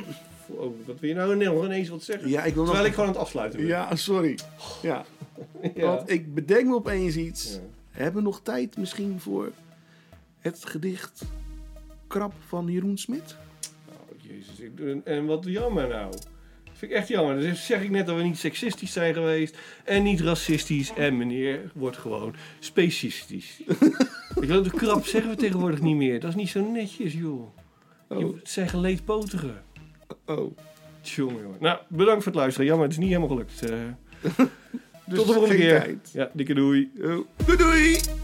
Speaker 6: Oh, wat wil je nou nog ineens wat zeggen?
Speaker 5: Ja, ik wil
Speaker 6: Terwijl
Speaker 5: nog-
Speaker 6: ik gewoon aan het afsluiten ben.
Speaker 5: Ja, sorry. Ja.
Speaker 6: Ja.
Speaker 5: Want ik bedenk me opeens iets. Hebben we nog tijd misschien voor het gedicht Krap van Jeroen Smit?
Speaker 6: Oh, Jezus, ik- en- en wat jammer nou. Dat vind ik echt jammer. Dus zeg ik net dat we niet seksistisch zijn geweest. En niet racistisch. En meneer wordt gewoon specistisch. ik wil de krap zeggen we tegenwoordig niet meer. Dat is niet zo netjes, joh. Joh, het zijn geleedpotigen.
Speaker 5: Oh.
Speaker 6: Tjonge, jongen. Nou, bedankt voor het luisteren. Jammer, het is niet helemaal gelukt. Eh, Tot de volgende
Speaker 5: Dus geen
Speaker 6: keer.
Speaker 5: tijd.
Speaker 6: Ja, dikke doei.
Speaker 5: Oh. Doei doei!